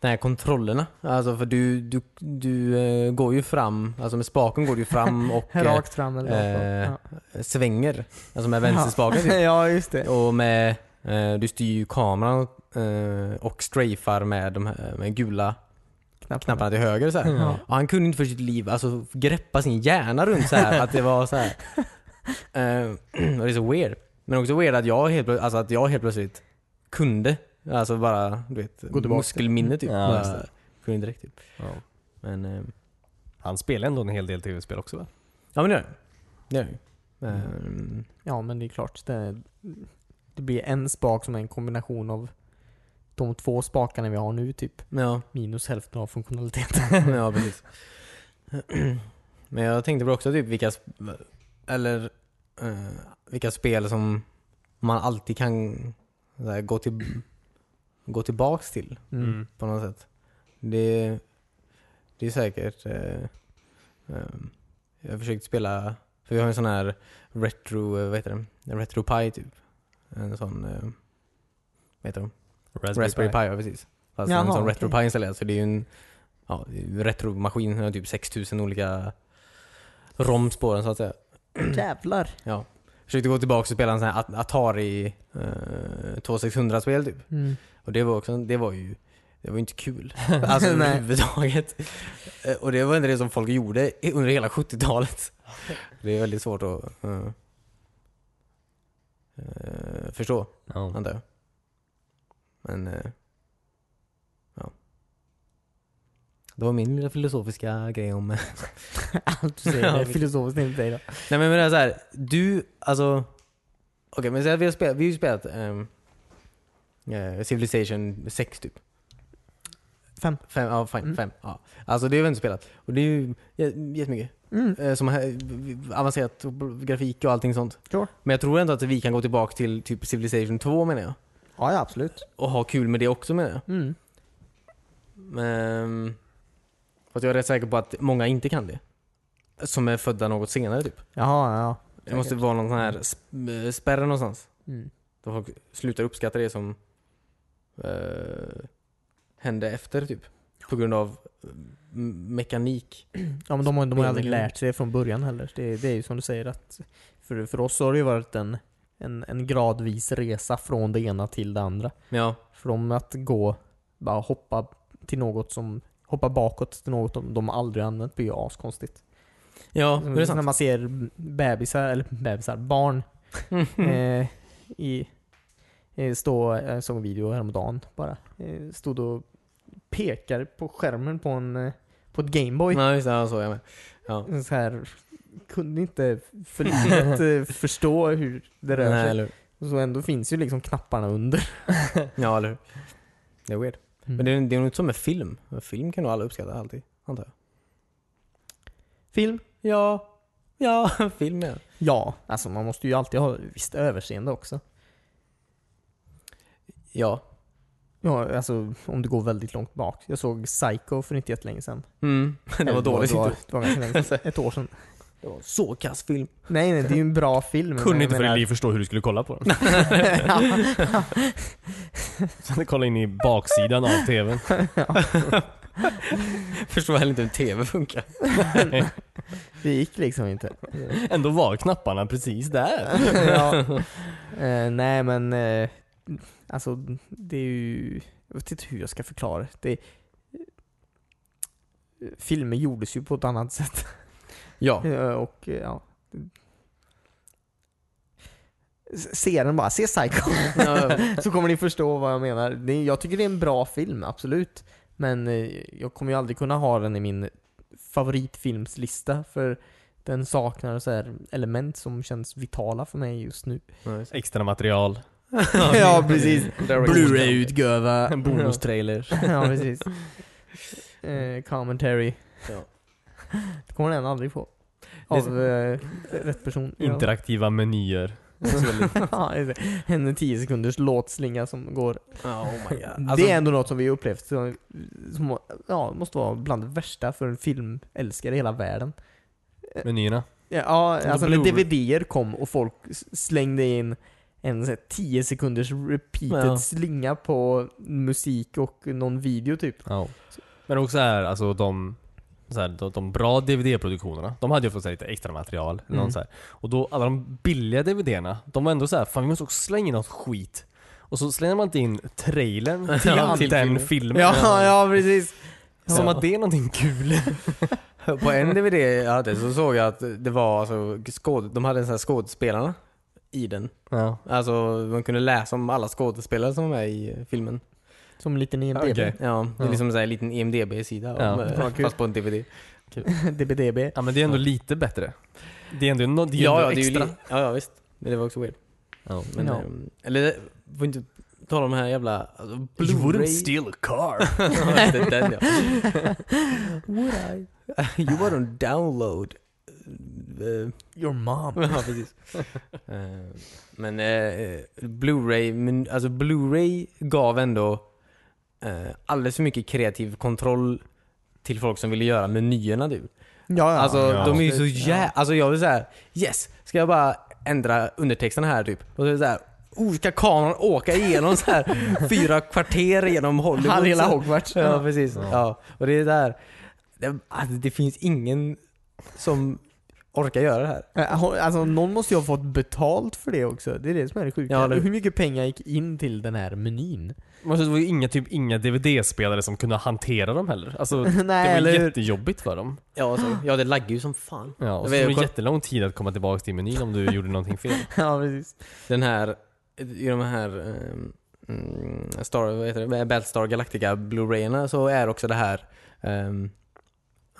S2: de här kontrollerna. Alltså för du, du, du eh, går ju fram, alltså med spaken går du ju fram och eh,
S1: Rakt fram eller
S2: eh,
S1: rakt bak.
S2: svänger. Alltså med vänsterspaken
S1: ja. [LAUGHS]
S2: typ.
S1: ja, just det.
S2: Och med, eh, du styr ju kameran eh, och strafar med de här med gula
S1: Knappt.
S2: knapparna till höger så här.
S1: Ja.
S2: Och han kunde inte för sitt liv alltså, greppa sin hjärna runt så här att det var så här.
S1: [LAUGHS]
S2: Eh, [CLEARS THROAT] och det är så weird. Men också weird att jag helt, plö- alltså, att jag helt plötsligt kunde, alltså bara du vet,
S1: Gå tillbaka.
S2: muskelminne typ.
S3: Ja,
S2: Bara
S3: just det.
S2: kunde inte direkt typ.
S3: Ja.
S2: Men, eh,
S3: Han spelar ändå en hel del tv-spel också va?
S2: ja men det gör det. Det gör det. Eh,
S1: Ja, men det är klart. Det, det blir en spak som är en kombination av de två spakarna vi har nu typ.
S2: ja,
S1: Minus hälften av funktionaliteten. [LAUGHS]
S2: [LAUGHS] ja precis. [CLEARS THROAT] Men jag tänkte på också typ vilka, sp- eller eh, vilka spel som man alltid kan så här, gå, till, gå tillbaks till.
S1: Mm.
S2: på något sätt. Det, det är säkert... Eh, ehm, jag har försökt spela, för vi har en sån här retro, eh, vad heter det? En retro pie typ. En sån, eh, vad heter de?
S3: Raspberry,
S2: Raspberry
S3: Pi.
S2: Pi, ja precis. Fast en
S1: Jaha,
S2: sån
S1: okej.
S2: retro pie installerad, så det är ju en ja, det är ju en retromaskin, den har typ 6000 olika roms på den så att säga.
S1: Jävlar.
S2: [CLEARS THROAT] Försökte gå tillbaka och spela en sån här At- Atari eh, 2600-spel typ.
S1: [LAUGHS] Mm.
S2: Och det var också, det var ju, det var ju
S1: [LAUGHS]
S2: inte kul. Alltså
S1: Nej.
S2: överhuvudtaget. Eh, Och det var inte det som folk gjorde i- under hela 70-talet. Det är väldigt svårt att eh, eh, förstå,
S3: Ja.
S2: antar jag. Men, eh, ja. Det var min lilla filosofiska grej om... eh, [LAUGHS] Nej
S1: Allt du säger
S2: Ja,
S1: är
S2: visst.
S1: filosofiskt inte dig då.
S2: men men det är så här, du, alltså... Okej men så här, vi har spelat, vi har ju spelat ehm, eh, Civilization 6 typ.
S1: Fem.
S2: Fem, ja, fine,
S1: Mm.
S2: fem. Ja. Alltså det har vi inte spelat. Och det är ju jä- jättemycket.
S1: Mm.
S2: Eh, som här, avancerat och b- grafik och allting sånt.
S1: Sure.
S2: Men jag tror ändå att vi kan gå tillbaka till typ Civilization 2 menar jag.
S1: Ja, ja, absolut.
S2: Och ha kul med det också menar jag.
S1: Mm.
S2: Men, fast jag är rätt säker på Ehm, att många inte kan det. Som är födda något senare typ.
S1: Jaha, ja.
S2: Det måste vara någon sån här sp- eh, spärr någonstans.
S1: Mm.
S2: Då folk slutar uppskatta det som eh, hände efter typ. På grund av mm, mekanik.
S1: Ja men de, har- de har ju aldrig
S2: Spelmiljon.
S1: lärt sig det från början heller. Det, det är ju som du säger att för, för oss har det ju varit en, en, en gradvis resa från det ena till det andra.
S2: Ja,
S1: Från att gå, bara hoppa till något som, hoppa bakåt till något de, de aldrig använt blir ju askonstigt.
S2: ja
S1: Som
S2: det är
S1: När
S2: sant.
S1: man ser bebisar, eller bebisar,
S2: [LAUGHS]
S1: barn eh, i, eh, stå, jag såg en video häromdagen bara. Eh, stod och pekade på skärmen på en, eh, på ett Gameboy.
S2: Nej, just det. Ja, så är jag med. Ja.
S1: så här, kunde inte för livet eh, förstå hur det rör
S2: Nej,
S1: sig.
S2: eller hur?
S1: Och Så ändå finns ju liksom knapparna under.
S2: Ja, eller hur? Det är
S1: Mm.
S2: weird. Men det är, det är nog inte som med film. Film kan nog alla uppskatta alltid, antar jag.
S1: Film?
S2: Ja, ja, [LAUGHS] film ja.
S1: Ja, alltså man måste ju alltid ha visst överseende också.
S2: Ja.
S1: Ja, alltså om du går väldigt långt bak. Jag såg Psycho för inte jättelänge sedan.
S2: Mm. Det var
S1: Eller,
S2: dåligt.
S1: Det var, det var ganska länge sedan. Ett år sedan.
S2: Det var en så kass film.
S1: Nej, nej, det är ju en bra film. men
S3: Kunde
S1: jag
S3: inte för ditt
S1: menar-
S3: liv förstå hur du skulle kolla
S1: [LAUGHS]
S3: på den. Så kolla in i baksidan av tvn.
S2: Förstår heller inte hur TV funkar.
S1: Det gick liksom inte.
S3: Ändå var knapparna precis där.
S1: ja. eh, nej men, eh, alltså det är ju, jag vet inte hur jag ska förklara det. det. Filmer gjordes ju på ett annat sätt.
S2: Ja.
S1: Eh, och eh, ja. S- Se den bara, se Psycho. [LAUGHS] Så kommer ni förstå vad jag menar. Det, jag tycker det är en bra film, absolut. Men eh, jag kommer ju aldrig kunna ha den i min favoritfilmslista för den saknar så här element som känns vitala för mig just nu.
S3: Extra material.
S1: [LAUGHS]
S2: [LAUGHS]
S1: ja, precis. [LAUGHS]
S2: Blu-ray-utgåva.
S1: Bonustrailers.
S2: [LAUGHS]
S1: ja, precis. Eh, commentary.
S2: Ja.
S1: Det kommer den aldrig få.
S2: Det är
S1: Av
S2: så-
S1: eh, rätt person. Ja.
S3: Interaktiva menyer.
S1: [LAUGHS] Ja, det är så. en 10 sekunders låtslinga som går.
S2: oh my god.
S1: det är ändå något som vi upplevt som, som ja, måste vara bland det värsta för en filmälskare i hela världen.
S3: Menyerna.
S1: Ja,
S2: Som
S1: alltså
S2: The
S1: när
S2: Blu-ray.
S1: DVDer kom och folk s- slängde in en så här 10 sekunders repeated
S2: Ja.
S1: slinga på musik och någon video typ.
S3: Ja. Men också här, alltså de, så här, de, de bra DVD-produktionerna, de hade ju fått så här, lite extra material. eller
S1: Mm.
S3: Någon, så här. Och då alla de billiga DVDerna, de var ändå så här, fan vi måste också slänga in något skit. Och så slänger man inte in trailern till,
S2: Ja,
S3: till
S2: till
S3: den
S2: filmen.
S3: filmen.
S1: Ja, ja precis.
S3: Som
S1: Ja.
S3: att det är någonting kul.
S2: På en DVD jag hade så såg jag att det var alltså, skåd, de hade en sån här skådespelarna i den.
S3: Ja.
S2: Alltså man kunde läsa om alla skådespelare som var med i eh, filmen.
S1: Som en liten E IMDB. [LAUGHS]
S3: Okej.
S2: Ja, det är
S3: Ja.
S2: liksom så här en liten EMDB-sida.
S3: Ja.
S2: om, eh,
S1: Fan, kul.
S2: Fast på en DVD.
S1: DBDB.
S3: ja men det är ändå lite bättre. Det är ändå, no, det är
S2: ja,
S3: ändå
S2: ja, det är ju
S3: extra.
S2: li- ja, ja, visst. Men det var också weird.
S3: Ja.
S2: Men,
S1: Ja.
S2: ehm, Eller, får inte tala om den här jävla... Alltså,
S3: You wouldn't
S2: Blu-ray.
S3: steal a car.
S2: [LAUGHS] Ja, det är den,
S3: [LAUGHS]
S2: ja. Would I? You wouldn't download. eh,
S1: Your mom.
S2: ja, precis. Eh, Men eh, Blu-ray, men, alltså Blu-ray gav ändå eh, alldeles för mycket kreativ kontroll till folk som ville göra menyerna typ. du.
S1: Ja, ja.
S2: Alltså
S3: ja.
S2: de är ju så
S1: Absolut,
S2: jä... Alltså jag vill säga yes, ska jag bara ändra undertexterna här typ? Och så är det så här, oh, ska kameran åka igenom så
S3: [LAUGHS]
S2: här fyra kvarter genom Hollywood?
S1: Han
S2: så
S1: hela [LAUGHS]
S2: här?
S1: Hogwarts.
S2: Ja, precis.
S3: Ja.
S2: Ja. Och det är där, det, alltså, det finns ingen som orkar göra det här.
S1: Eh, ho- Alltså någon måste ju ha fått betalt för det också. Det är det som är det sjuka.
S2: Ja, eller hur?
S1: Hur mycket pengar gick in till den här
S2: [LAUGHS]
S1: menyn?
S3: Men Det var ju inga, typ, inga DVD-spelare som kunde hantera dem heller. Alltså, det
S1: Nej,
S3: var
S1: eller hur?
S3: jättejobbigt för dem.
S2: Ja, alltså, ja det laggar ju som fan.
S3: Ja,
S2: Jag
S3: och så
S2: vet, jag
S3: tog det
S2: koll-
S3: jättelång tid att komma tillbaka till menyn om du gjorde någonting fel.
S1: [LAUGHS] Ja, precis.
S2: Den här, i de här ehm, mm, Star, vad heter det? Battlestar Galactica Blu-rayerna så är också det här ehm,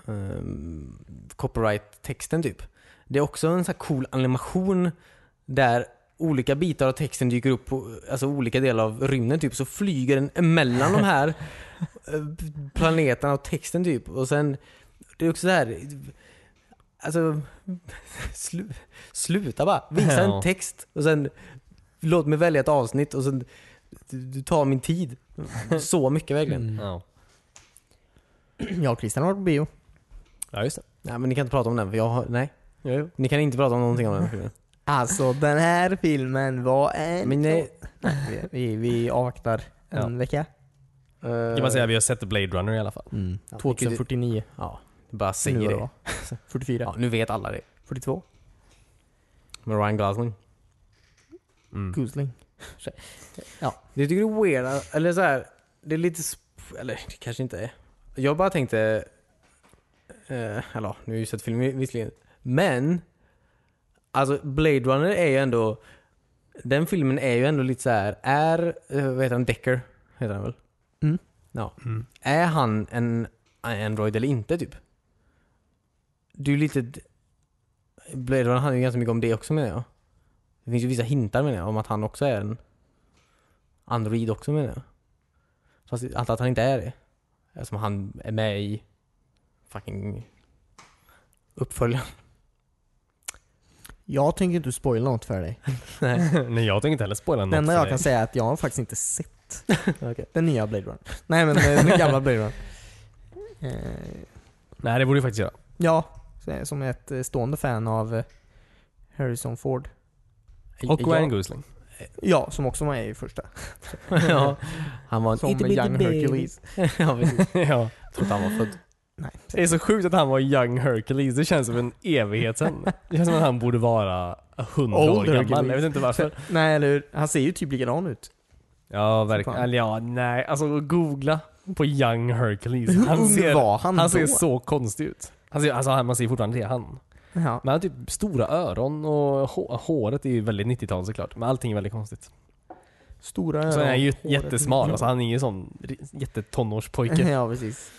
S2: ehm, copyright-texten typ. Det är också en sån här cool animation där olika bitar av texten dyker upp på alltså olika delar av rymden typ så flyger den emellan de här eh, planeterna och texten typ och sen det är också så här alltså slu, sluta bara visa
S3: Ja.
S2: en text och sen låt mig välja ett avsnitt och sen du, du tar min [LAUGHS] tid så mycket verkligen.
S1: [CLEARS THROAT] Mm.
S3: Ja,
S1: Jag och Christian har varit på bio.
S3: ja just det.
S2: Nej men ni kan inte prata om den för jag har, nej. Ni kan inte prata om någonting om den filmen.
S1: Alltså den här filmen var en...
S2: Men eh, nej,
S1: Vi, vi, vi avvaktar en
S3: Ja.
S1: vecka. Uh,
S2: eh,
S3: kan man säga att vi har sett Blade Runner i alla fall.
S1: mm,
S2: Ja,
S1: 2049.
S2: Ja, bara
S1: Nu
S2: säger
S1: var det,
S2: [LAUGHS] det.
S1: va? 44.
S2: Ja, nu vet alla det.
S1: 42.
S2: Med Ryan Gosling.
S3: Mm.
S1: Gosling.
S2: Det tycker du är weird, att- eller så här, det är lite, sp- eller det kanske inte är. Jag bara tänkte, eh, eller ja, nu har jag ju sett filmen visserligen, men alltså Blade Runner är ju ändå, den filmen är ju ändå lite så här, är, eh, vad heter han, Decker? Heter han väl?
S1: Mm.
S2: Ja.
S3: Mm.
S2: Är han en Android eller inte typ? Du är ju lite, Blade Runner handlar ju ganska mycket om det också menar jag. Det finns ju vissa hintar menar jag om att han också är en Android också menar jag. Fast jag antar att han inte är det. Eftersom han är med i fucking uppföljaren.
S1: Jag tänker inte spoila något för dig.
S2: Nej.
S3: [LAUGHS] Nej, jag tänker inte heller spoila något.
S1: Det enda
S3: för
S1: jag
S3: dig.
S1: kan säga är att jag har faktiskt inte
S3: [LAUGHS]
S1: sett den nya Blade Runner. Nej men eh, den gamla Blade Runner. Eh,
S3: Nej, det borde du faktiskt göra.
S1: Ja, så jag är som ett eh, stående fan av eh, Harrison Ford.
S3: Och
S2: Jag-
S3: Ryan Gosling.
S1: Ja, som också var med i första.
S2: [LAUGHS] ja, han var en
S1: Som
S2: itty bitty
S1: Young
S2: baby.
S1: Hercules.
S2: [LAUGHS] ja, precis.
S3: [LAUGHS] ja.
S2: Trodde han var född.
S1: Nej,
S3: Det är så sjukt att han var young Hercules. Det känns som en evighet sen. Det känns som att han borde vara 100 år
S1: Old
S3: gammal.
S1: Hercules.
S3: Jag vet inte varför.
S1: Nej eller hur? Han ser ju typ likadan ut.
S3: Ja, verkligen. Eller ja, nej. Alltså googla på young Hercules.
S1: Hur
S3: [LAUGHS] Han
S1: ung
S3: ser,
S1: var han,
S3: han
S1: då?
S3: ser så konstig ut. Han ser, alltså, man ser fortfarande det är han.
S1: Ja.
S3: Men han har typ stora öron och hå- håret är ju väldigt 90-tal såklart. Men allting är väldigt konstigt.
S1: Stora
S3: Så han är ju
S1: håret.
S3: jättesmal. Alltså, han är ju sån ri- jättetonårspojke.
S1: [LAUGHS] Ja, precis.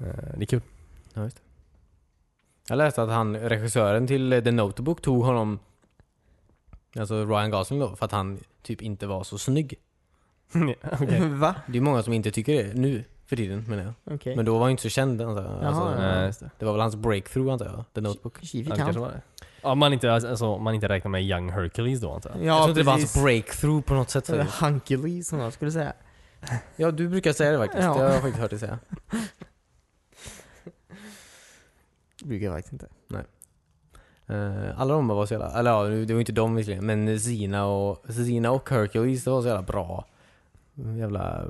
S3: Eh, Det är kul. [LAUGHS]
S2: Ja, just det. Jag läste att han, regissören till eh, The Notebook tog honom, alltså Ryan Gosling då, för att han typ inte var så snygg.
S3: Ja,
S1: [LAUGHS]
S3: okej.
S1: Va?
S2: Det är många som inte tycker det nu för tiden menar jag.
S1: Okej.
S2: Men då var han inte så känd antar jag. Alltså,
S1: Jaha,
S3: Nej,
S1: ja.
S3: eh, just det.
S2: Det var väl hans breakthrough antar jag, The Notebook.
S1: Kivik
S3: Ja, det
S1: han.
S3: kanske var det. Ja, om man inte, alltså, om man inte räknar med Young Hercules då antar jag.
S2: jag
S1: Ja,
S2: tror inte det var hans
S1: precis.
S2: breakthrough på något sätt.
S1: Eller
S2: faktiskt.
S1: Hunkily som jag skulle säga.
S2: Ja, du brukar säga det faktiskt.
S1: Ja.
S2: Det har jag faktiskt hört dig säga.
S1: Det brukar jag faktiskt inte.
S2: Eh, alla de var så jävla, eller ja, nu- det var inte de visserligen, men Zina och, Zina och Hercules, det var så jävla bra jävla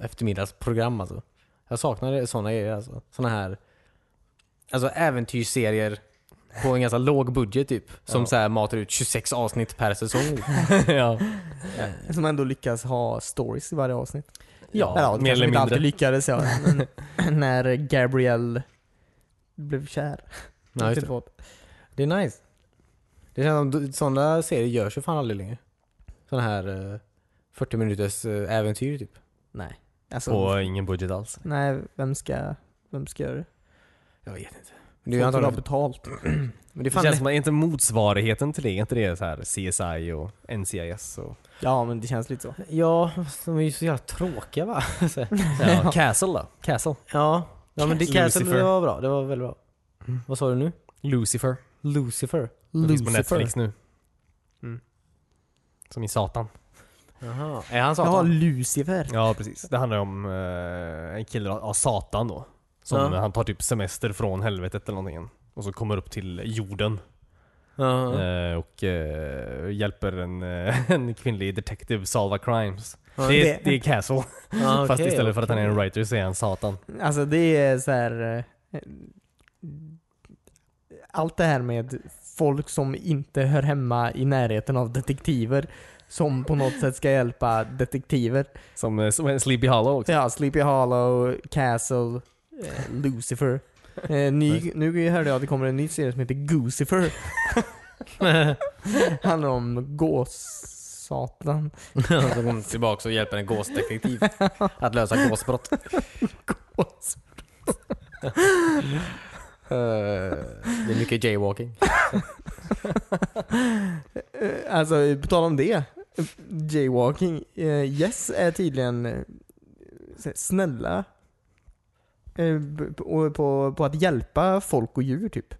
S2: eftermiddagsprogram alltså. Jag saknade såna grejer alltså. Såna här, alltså äventyrsserier på en ganska [LAUGHS] låg budget typ. Som
S3: Ja.
S2: så här matar ut 26 avsnitt per [LAUGHS] säsong.
S3: [LAUGHS] ja.
S2: Eh,
S1: Som ändå lyckas ha stories i varje avsnitt.
S3: Ja,
S1: Eller, det
S3: mer
S1: kanske
S3: eller
S1: inte
S3: mindre.
S1: alltid lyckades
S3: [LAUGHS]
S1: ja. Men [CLEARS THROAT] när Gabrielle blev kär.
S2: ja, just
S1: Typ
S2: det.
S1: vad.
S2: Det är nice. Det känns som sådana serier görs ju fan aldrig längre. Sådana här eh, 40 minuters eh, äventyr typ.
S1: Nej. Alltså,
S3: Och ingen budget alls.
S1: Nej, vem ska, vem ska göra det?
S2: Jag vet inte. Men det
S1: Du
S2: är ju
S1: har inte
S2: antagligen...
S1: betalt.
S2: Men det är
S3: Det
S2: fan
S3: känns som att inte motsvarigheten till det, är inte det så här CSI och
S1: [LAUGHS]
S3: NCIS och...
S1: Ja, men det känns lite så.
S2: Ja, fast de är ju så jävla tråkiga va? Så-
S3: Ja, Castle då? Castle?
S2: ja. ja, men det
S3: Castle.
S2: Castle det var bra. Det var väldigt bra.
S3: Mm.
S2: Vad sa du nu?
S3: Lucifer.
S2: Lucifer?
S3: Den finns på Netflix nu. Mm. Som i Satan.
S2: Jaha. Är han
S1: Ja,
S2: satan?
S1: Lucifer.
S3: Ja, precis. Det handlar ju om eh, en kille av av Satan då. Som
S2: Ja.
S3: han tar typ semester från helvetet eller någonting. Och så kommer upp till jorden.
S2: Ja.
S3: eh, och eh, hjälper en, eh, [LAUGHS] en kvinnlig detective solva crimes.
S2: Ja,
S3: Det är,
S1: det-
S3: det är Castle.
S2: ja,
S3: Fast
S2: okej,
S3: istället för att han är en
S2: okej.
S3: writer så är han Satan.
S1: Alltså det är så här. eh, Allt det här med folk som inte hör hemma i närheten av detektiver. Som på något sätt ska hjälpa detektiver.
S3: Som, eh, som en Sleepy Hollow också.
S1: Ja, Sleepy Hollow, Castle, eh, Lucifer. Eh, ny, nu hörde jag att det kommer en ny serie som heter Goosifer. Handlar om gåssatan.
S2: [LAUGHS] Ja, så kommer han tillbaka och hjälper en gåsdetektiv att lösa gåsbrott.
S1: Gås.
S2: [LAUGHS] Eh, det är mycket jaywalking.
S1: Eh, Alltså, på tal om det. eh, Jaywalking. eh, Yes är tydligen eh, så här snälla eh, b- på, på, på att hjälpa folk och djur typ.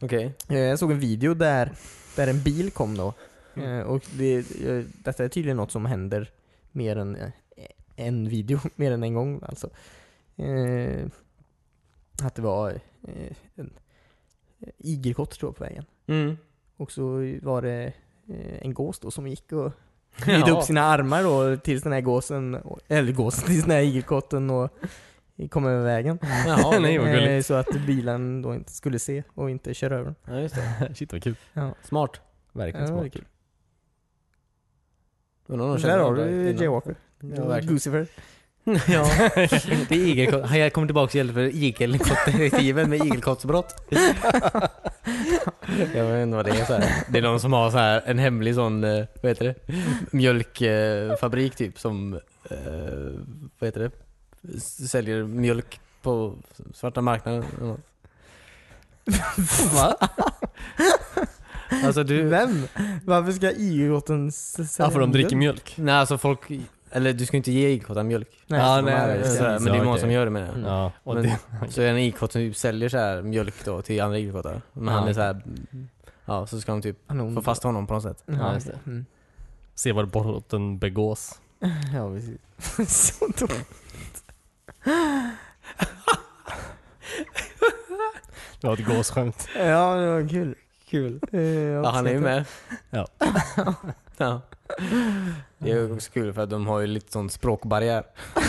S2: Okej.
S1: Eh, Jag såg en video där, där en bil kom då. Eh, Och det, eh, detta är tydligen något som händer mer än eh, en video, [LAUGHS] mer än en gång alltså. Eh, Att det var eh, en igelkott tror jag på vägen.
S2: Mm.
S1: Och så var det eh, en gås då som gick och Vrida
S2: Ja.
S1: upp sina armar då tills den här gåsen, eller gåsen, tills den här igelkotten och kom över vägen.
S3: [LAUGHS]
S2: Ja,
S3: Nej, vad gulligt.
S1: Eh, Så att bilen då inte skulle se och inte köra över den.
S2: ja, just det.
S3: Shit vad kul.
S2: Smart. Verkligen
S1: Ja,
S2: smart.
S1: det är kul.
S2: Undrar om de känner
S1: Där har
S2: varandra
S1: du
S2: innan.
S1: Jaywalker.
S2: Ja, verkligen.
S1: Gucifer.
S2: ja. [LAUGHS] Det är igelkott. Jag kommer tillbaka till för igelkottdetektiven med igelkottsbrott. [LAUGHS] Jag vet inte vad det är så här. Det är någon som har så här en hemlig sån, eh, vad heter det? Mjölkfabrik typ som, eh, vad heter det? S- Säljer mjölk på svarta marknaden. eller något.
S3: [LAUGHS]
S2: Va? Alltså du,
S1: Vem? Varför ska igelkotten s-
S3: Ja, för de dricker mjölk.
S2: nej alltså folk, eller du ska inte ge igelkottar mjölk.
S1: Nej,
S3: Ja,
S1: så de
S3: nej,
S1: här-
S3: nej,
S2: Så här, men
S3: precis.
S2: det är
S3: Ja,
S2: många
S3: okej.
S2: som gör det menar jag.
S1: Mm.
S3: Ja, och
S2: Men-
S3: det, [LAUGHS]
S2: Så är det en igelkott som typ säljer så här mjölk då till andra igelkottar. Men
S1: Ja.
S2: han är så här, ja så ska de typ
S1: Kanon.
S2: få fast honom på något sätt.
S1: Ja,
S2: Ja,
S1: just det. Mm.
S3: se var brotten begås.
S2: Mm.
S1: [LAUGHS] Ja, precis. [LAUGHS] så dåligt.
S3: Det var ett gåsskämt.
S1: Ja, det var [LAUGHS] kul.
S2: Kul.
S1: Eh, jag
S2: Ja han är ju
S1: uppskattar.
S2: med.
S3: Ja.
S2: [LAUGHS] ja. Det är ju också kul för att de har ju lite sån språkbarriär.
S3: [LAUGHS]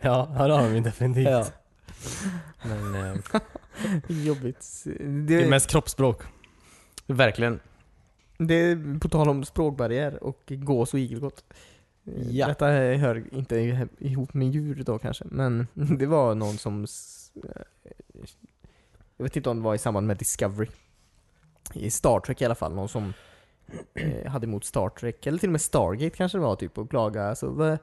S3: Ja, här har vi definitivt.
S2: Men eh,
S1: Jobbigt.
S3: Det
S1: Det,
S3: är mest kroppsspråk.
S2: [LAUGHS] verkligen.
S1: det är på tal om språkbarriär och gås och igelkott. Eh,
S2: Ja.
S1: Detta hör inte ihop med djur då kanske, men [LAUGHS] det var någon som... s- eh, Jag vet inte om det var i samband med Discovery. I Star Trek i alla fall, någon som eh, hade emot Star Trek, eller till och med Stargate kanske det var typ, och klagade alltså, vad,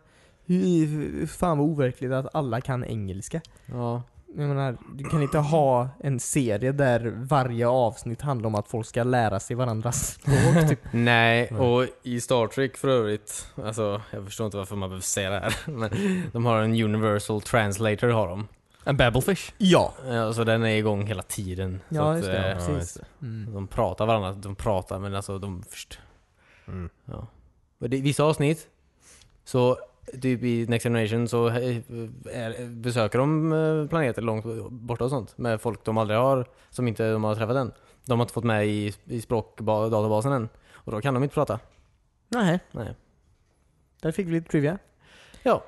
S1: hur, fan vad overkligt att alla kan engelska.
S2: Ja.
S1: Jag menar, du kan inte ha en serie där varje avsnitt handlar om att folk ska lära sig varandras [LAUGHS] språk typ.
S2: Nej,
S3: Nej.
S2: och i Star Trek för övrigt, alltså jag förstår inte varför man behöver säga det här. [LAUGHS] Men de har en universal translator har de.
S3: En babblefish.
S1: Ja!
S2: Ja, så den är igång hela tiden. så
S1: Ja,
S2: att,
S1: just det.
S2: eh,
S1: Ja,
S3: just
S1: precis.
S3: det.
S1: Mm.
S2: De pratar varandra, de pratar men alltså de först.
S1: Mm.
S2: Ja. Och det, i vissa avsnitt, så typ i Next Generation så eh, är, besöker de eh, planeter långt borta och sånt med folk de aldrig har, som inte de har träffat än. De har inte fått med i, i språkdatabasen än. Och då kan de inte prata.
S1: Nej,
S2: Nej.
S1: där fick vi lite trivia.
S2: Ja.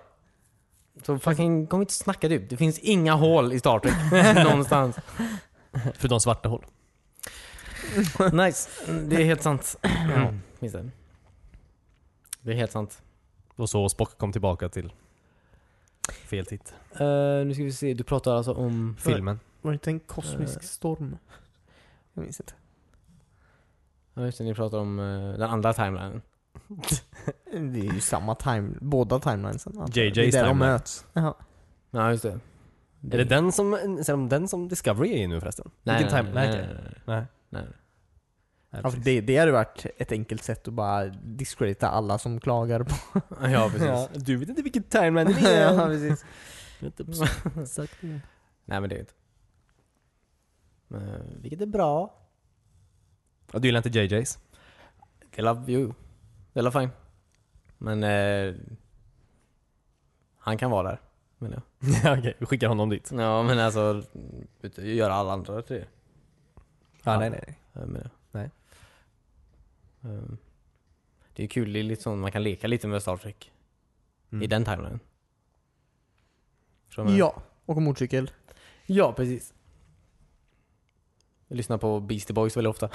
S2: Så fucking kom inte och snacka typ. Det finns inga hål i Star
S3: [LAUGHS]
S2: Trek någonstans.
S3: Förutom svarta hål.
S2: Nice. Det är helt sant. Minns det. Det är helt sant.
S3: Och så Spock kom tillbaka till fel titt.
S2: Eh, nu ska vi se, du pratar alltså om...
S3: Filmen.
S1: Var det inte en kosmisk storm? Jag minns inte.
S2: Ja just det, ni pratar om eh, den andra timelinen.
S1: Eh, Det är ju samma time, båda timelinesen. antar jag.
S3: JJ's
S1: det är där de
S3: timeline.
S1: möts. Jaha.
S2: Ja just det.
S3: Är det den som, är det den som Discovery är i nu förresten?
S2: Nej,
S3: Vilken
S2: nej,
S3: timeline
S2: nej,
S3: är
S2: nej,
S3: det?
S2: nej.
S3: Nej.
S2: Nej.
S3: Nej,
S1: Ja, för
S3: precis.
S1: det, det hade varit ett enkelt sätt att bara discredita alla som klagar på...
S2: [LAUGHS] Ja precis.
S3: Ja, du vet inte vilken timeline det är.
S1: [LAUGHS] Ja, precis. typ [LAUGHS]
S2: Nej men det är inte. Men, vilket är bra.
S3: Ja, du gillar inte
S1: [LAUGHS]
S3: JJ's?
S2: I love you. I love fine. Men... eh, han kan vara där. Men jag.
S3: Ja, Okej, vi skickar honom dit.
S2: Ja men alltså, vet du, göra alla andra till det.
S3: Ja,
S2: Ja.
S3: nej, nej.
S2: Jag menar.
S3: Nej.
S2: Ehm, Det är kul, det är lite sånt man kan leka lite med Star Trek.
S3: Mm.
S2: I den timelinen. Förstår du vad jag menar?
S1: Ja, och en [LAUGHS] motorcykel.
S2: ja, precis. Jag lyssnar på Beastie Boys väldigt ofta.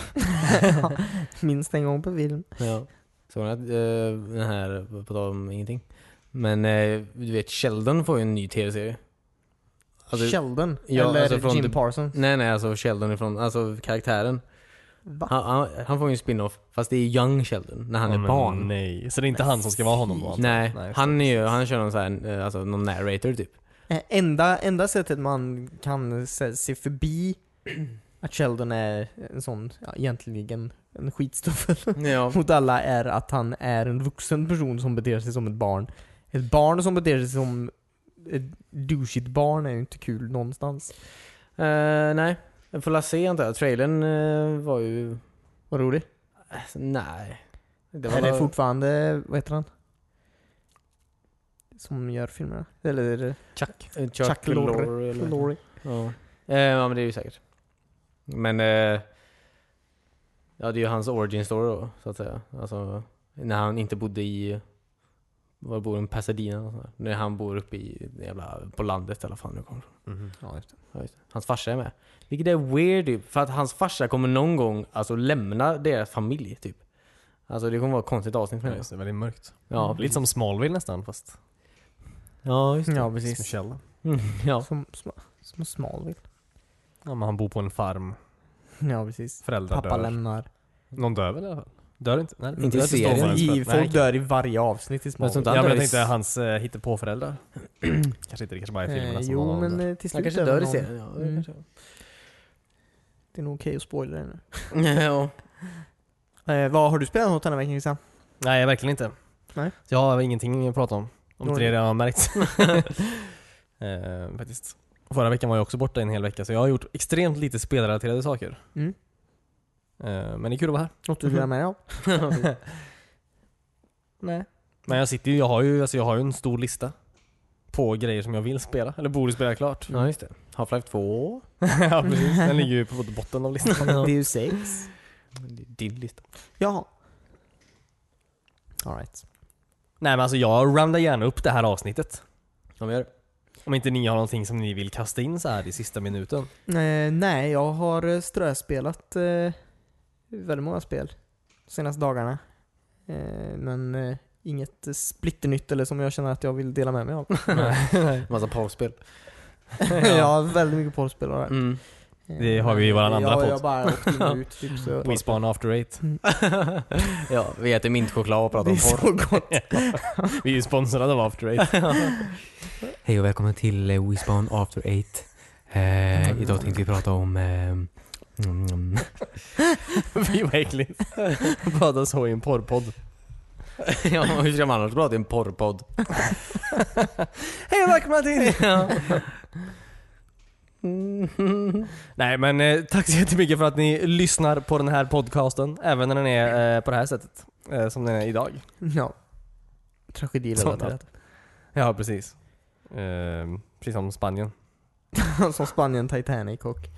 S1: Minst en gång på film.
S2: ja. Såg ni att eh, den här, på tal om ingenting. Men eh, du vet Sheldon får ju en ny tv-serie. Alltså-
S1: Sheldon?
S2: Ja,
S1: eller
S2: alltså från
S1: Jim
S2: The-
S1: Parsons?
S2: Nej nej alltså Sheldon ifrån, alltså karaktären.
S1: Va?
S2: Han, han, han får ju en spin-off, fast det är Young Sheldon, när han
S3: Ja,
S2: är
S3: men
S2: barn.
S3: Nej, så det är inte han som ska vara honom då? antar jag?
S2: Nej, han, är ju, han kör någon, så här, eh, alltså, någon narrator typ.
S1: Eh, Enda, enda sättet man kan se, se förbi [CLEARS THROAT] att Sheldon är en sån, ja, egentligen en skitstövel
S2: [LAUGHS] Ja.
S1: [LAUGHS] mot alla är att han är en vuxen person som beter sig som ett barn. Ett barn som beter sig som ett douchigt barn är ju inte kul någonstans.
S2: Eh, nej, jag får la se antar jag. Trailern eh, var ju...
S1: Vad roligt.
S2: alltså, nej. Det
S1: är
S2: bara-
S1: det fortfarande, vad heter han? Som gör filmerna? Eller är det
S2: Chuck. Eh, Chuck,
S1: Chuck
S2: Lorre.
S1: Lorre?
S2: eller-
S1: Lorre?
S2: Ja. Eh, ja, men det är ju säkert. Men... Eh, ja, det är ju hans origin story då, så att säga. Alltså, När han inte bodde i... Var bor han? Pasadena? och sånt där. När han bor uppe i... Jävla, på landet eller vad fan det kommer ifrån.
S1: Mm-hmm. Ja, just det.
S2: Ja, just det. Hans farsa är med. Vilket är weird typ. För att hans farsa kommer någon gång alltså lämna deras familj typ. Alltså det kommer vara ett konstigt avsnitt
S3: Ja,
S2: med det.
S3: just det, väldigt mörkt.
S2: Ja,
S3: Lite som Smallville nästan fast
S2: Ja, just det.
S1: ja
S3: Precis.
S1: precis.
S3: Michelle.
S2: Mm, ja.
S1: Som, som, som Smallville.
S3: Ja, men han bor på en farm.
S1: Ja, precis.
S3: Föräldrar
S1: Pappa
S3: dör.
S1: lämnar.
S3: Någon dör väl i alla fall? Dör inte? Nej,
S1: Inte
S3: dör
S1: i serien.
S3: Stålmannens
S1: I,
S3: föräldrar.
S1: folk
S3: Nej,
S1: dör i varje avsnitt i
S2: Men sånt
S1: Smallville.
S2: där-
S3: Ja, men jag
S2: Dörris.
S3: tänkte hans eh,
S1: [CLEARS THROAT]
S3: hittepåföräldrar. kanske inte, det kanske bara är
S1: Eh,
S3: filmerna som
S1: jo,
S3: har
S1: men eh, till slut
S2: Han kanske
S1: dör
S2: dör i
S1: någon.
S2: serien. Ja, det
S1: Mm.
S2: kanske.
S1: Det är nog okej att spoila det nu.
S2: [LAUGHS] ja.
S1: Eh, vad har du spelat något den här veckan Christian?
S3: Nej, verkligen inte.
S1: Nej.
S3: Så jag har ingenting att prata om. Om inte
S1: Dåligt.
S3: det redan har märkt. [LAUGHS] eh, faktiskt. Förra veckan var jag också borta en hel vecka, så jag har gjort extremt lite spelrelaterade saker.
S1: Mm.
S3: Eh, men det är kul att vara här.
S1: Något du vill
S2: Mm.
S1: ha med dig av? [LAUGHS] Nej.
S3: Men jag sitter ju, jag har ju, alltså jag har ju en stor lista. På grejer som jag vill spela, eller borde spela klart.
S2: ja, just det. Half-Life 2. [LAUGHS]
S3: ja precis, den ligger ju på botten av listan.
S1: Det är ju sex.
S2: Det är Din lista.
S1: Jaha. Alright.
S3: [LAUGHS] Nej men alltså jag roundar gärna upp det här avsnittet.
S2: Ja, men [LAUGHS] gör det.
S3: Om inte ni har någonting som ni vill kasta in så här i sista minuten.
S1: Eh, nej, jag har eh, ströspelat eh, väldigt många spel de senaste dagarna. Eh, men eh, inget eh, splitternytt eller som jag känner att jag vill dela med mig av. [LAUGHS]
S2: Massa porrspel.
S1: jag har väldigt mycket porrspel och det.
S2: Mm.
S1: Eh,
S3: Det har vi ju i våran andra
S1: jag,
S3: podd.
S1: Jag bara åkte in och ut typ
S3: [LAUGHS]
S1: så.
S3: We spawn after eight.
S2: ja, vi äter mintchoklad och
S1: Det
S2: pratar
S1: är
S2: om porr.
S1: så gott.
S3: [LAUGHS] Vi är ju sponsrade av after [LAUGHS] eight.
S2: Hej och välkomna till eh, WeSpawn After Eight. Eh, idag tänkte vi prata om... Eh, mm,
S3: Fy vad [LAUGHS] äckligt. Prata så i en porrpodd.
S2: [LAUGHS] ja, hur ska man annars prata i en porrpodd?
S3: Hej och välkomna till!
S2: ja.
S3: Nej men eh, tack så jättemycket för att ni lyssnar på den här podcasten. Även när den är eh, på det här sättet. Eh, som den är idag.
S1: Ja. Tragedi relaterat.
S3: Ja precis. Eh, precis som Spanien.
S1: [LAUGHS] Som Spanien, Titanic och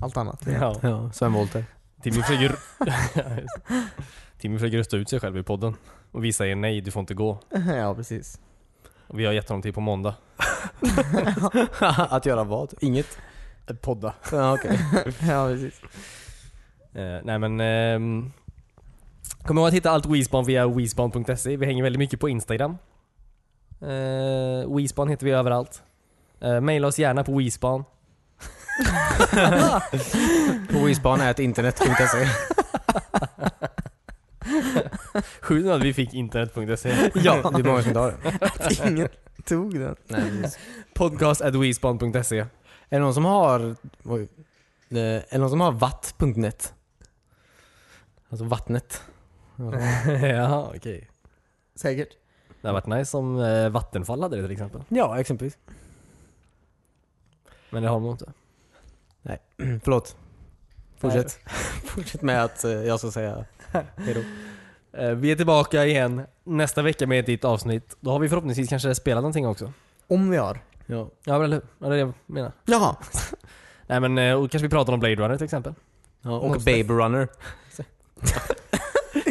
S1: allt annat.
S3: Ja.
S2: ja, Sven Wollter.
S3: Timmy försöker... Ja, just det. Timmy försöker rösta ut sig själv i podden. Och vi säger nej, du får inte gå.
S1: [LAUGHS] ja, precis.
S3: Och vi har gett honom till på måndag.
S2: [LAUGHS] att göra vad? Inget?
S3: Podda.
S2: [LAUGHS] Ja, okej.
S1: [LAUGHS] ja, precis.
S3: Eh, nej men... ehm, kom ihåg att hitta allt WeSpawn via WeSpawn.se. Vi hänger väldigt mycket på Instagram. Eh, WeSpawn heter vi överallt. Eh, maila oss gärna på WeSpawn.
S2: På WeSpawn är ett [LAUGHS] internet.se.
S3: Sjukt nog att vi fick internet.se.
S2: ja, det är många som inte har det.
S1: Ingen tog den.
S2: Nej, precis.
S3: [LAUGHS] Podcast at WeSpawn.se.
S2: Är det någon som har... Oj. Eh, Är det någon som har vatt.net? Alltså vattnet.
S3: [LAUGHS] ja, okej.
S1: Säkert.
S3: Det hade varit nice om eh, Vattenfall hade det till exempel.
S2: Ja, exempelvis.
S3: Men det har de inte.
S2: Mm, Förlåt. Fortsätt. [LAUGHS] Fortsätt med att eh, jag ska säga hejdå.
S3: Eh, Vi är tillbaka igen nästa vecka med ett nytt avsnitt. Då har vi förhoppningsvis kanske spelat någonting också.
S1: Om vi har.
S2: Ja.
S3: Ja, men eller hur? Ja, det är det jag menar.
S1: [LAUGHS] Jaha.
S3: Nej men, eh, och kanske vi pratar om Blade Runner till exempel.
S2: ja och
S1: Någonstans.
S2: Babe [LAUGHS] Runner.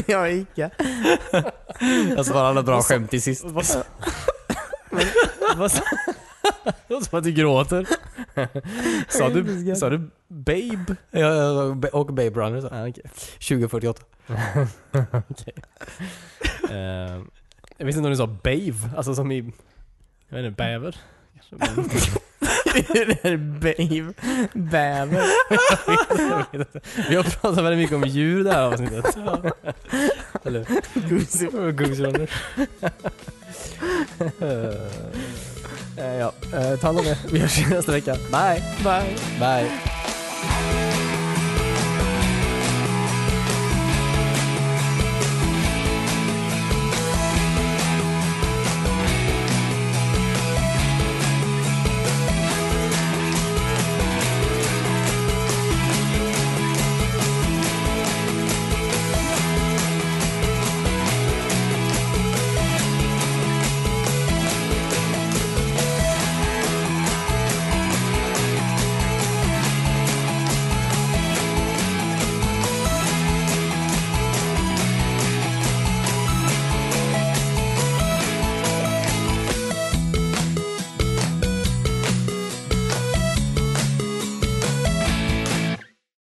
S1: Jag Ica.
S2: Jag svarade alla bra skämt till sist.
S3: Vad sa... Vad sa... [LAUGHS] Det låter som att du gråter. Sa du, sa du Babe?
S2: Ja, ja, ja, och Babe Runner så.
S3: Ah, okej.
S2: 2048.
S3: Eh, jag visste inte om du sa Bave, alltså som i... Jag vet inte, bäver? Kanske, men-
S2: [LAUGHS]
S1: det är [LAUGHS] Babe.
S3: [LAUGHS]
S1: Bäver.
S3: jag vet inte. Vi har pratat väldigt mycket om djur det här avsnittet. Eller
S1: Goose.
S3: Goose Runner.
S2: Eh,
S3: ja, eh, ta hand om er. Vi hörs nästa vecka. Bye!
S1: Bye.
S2: Bye.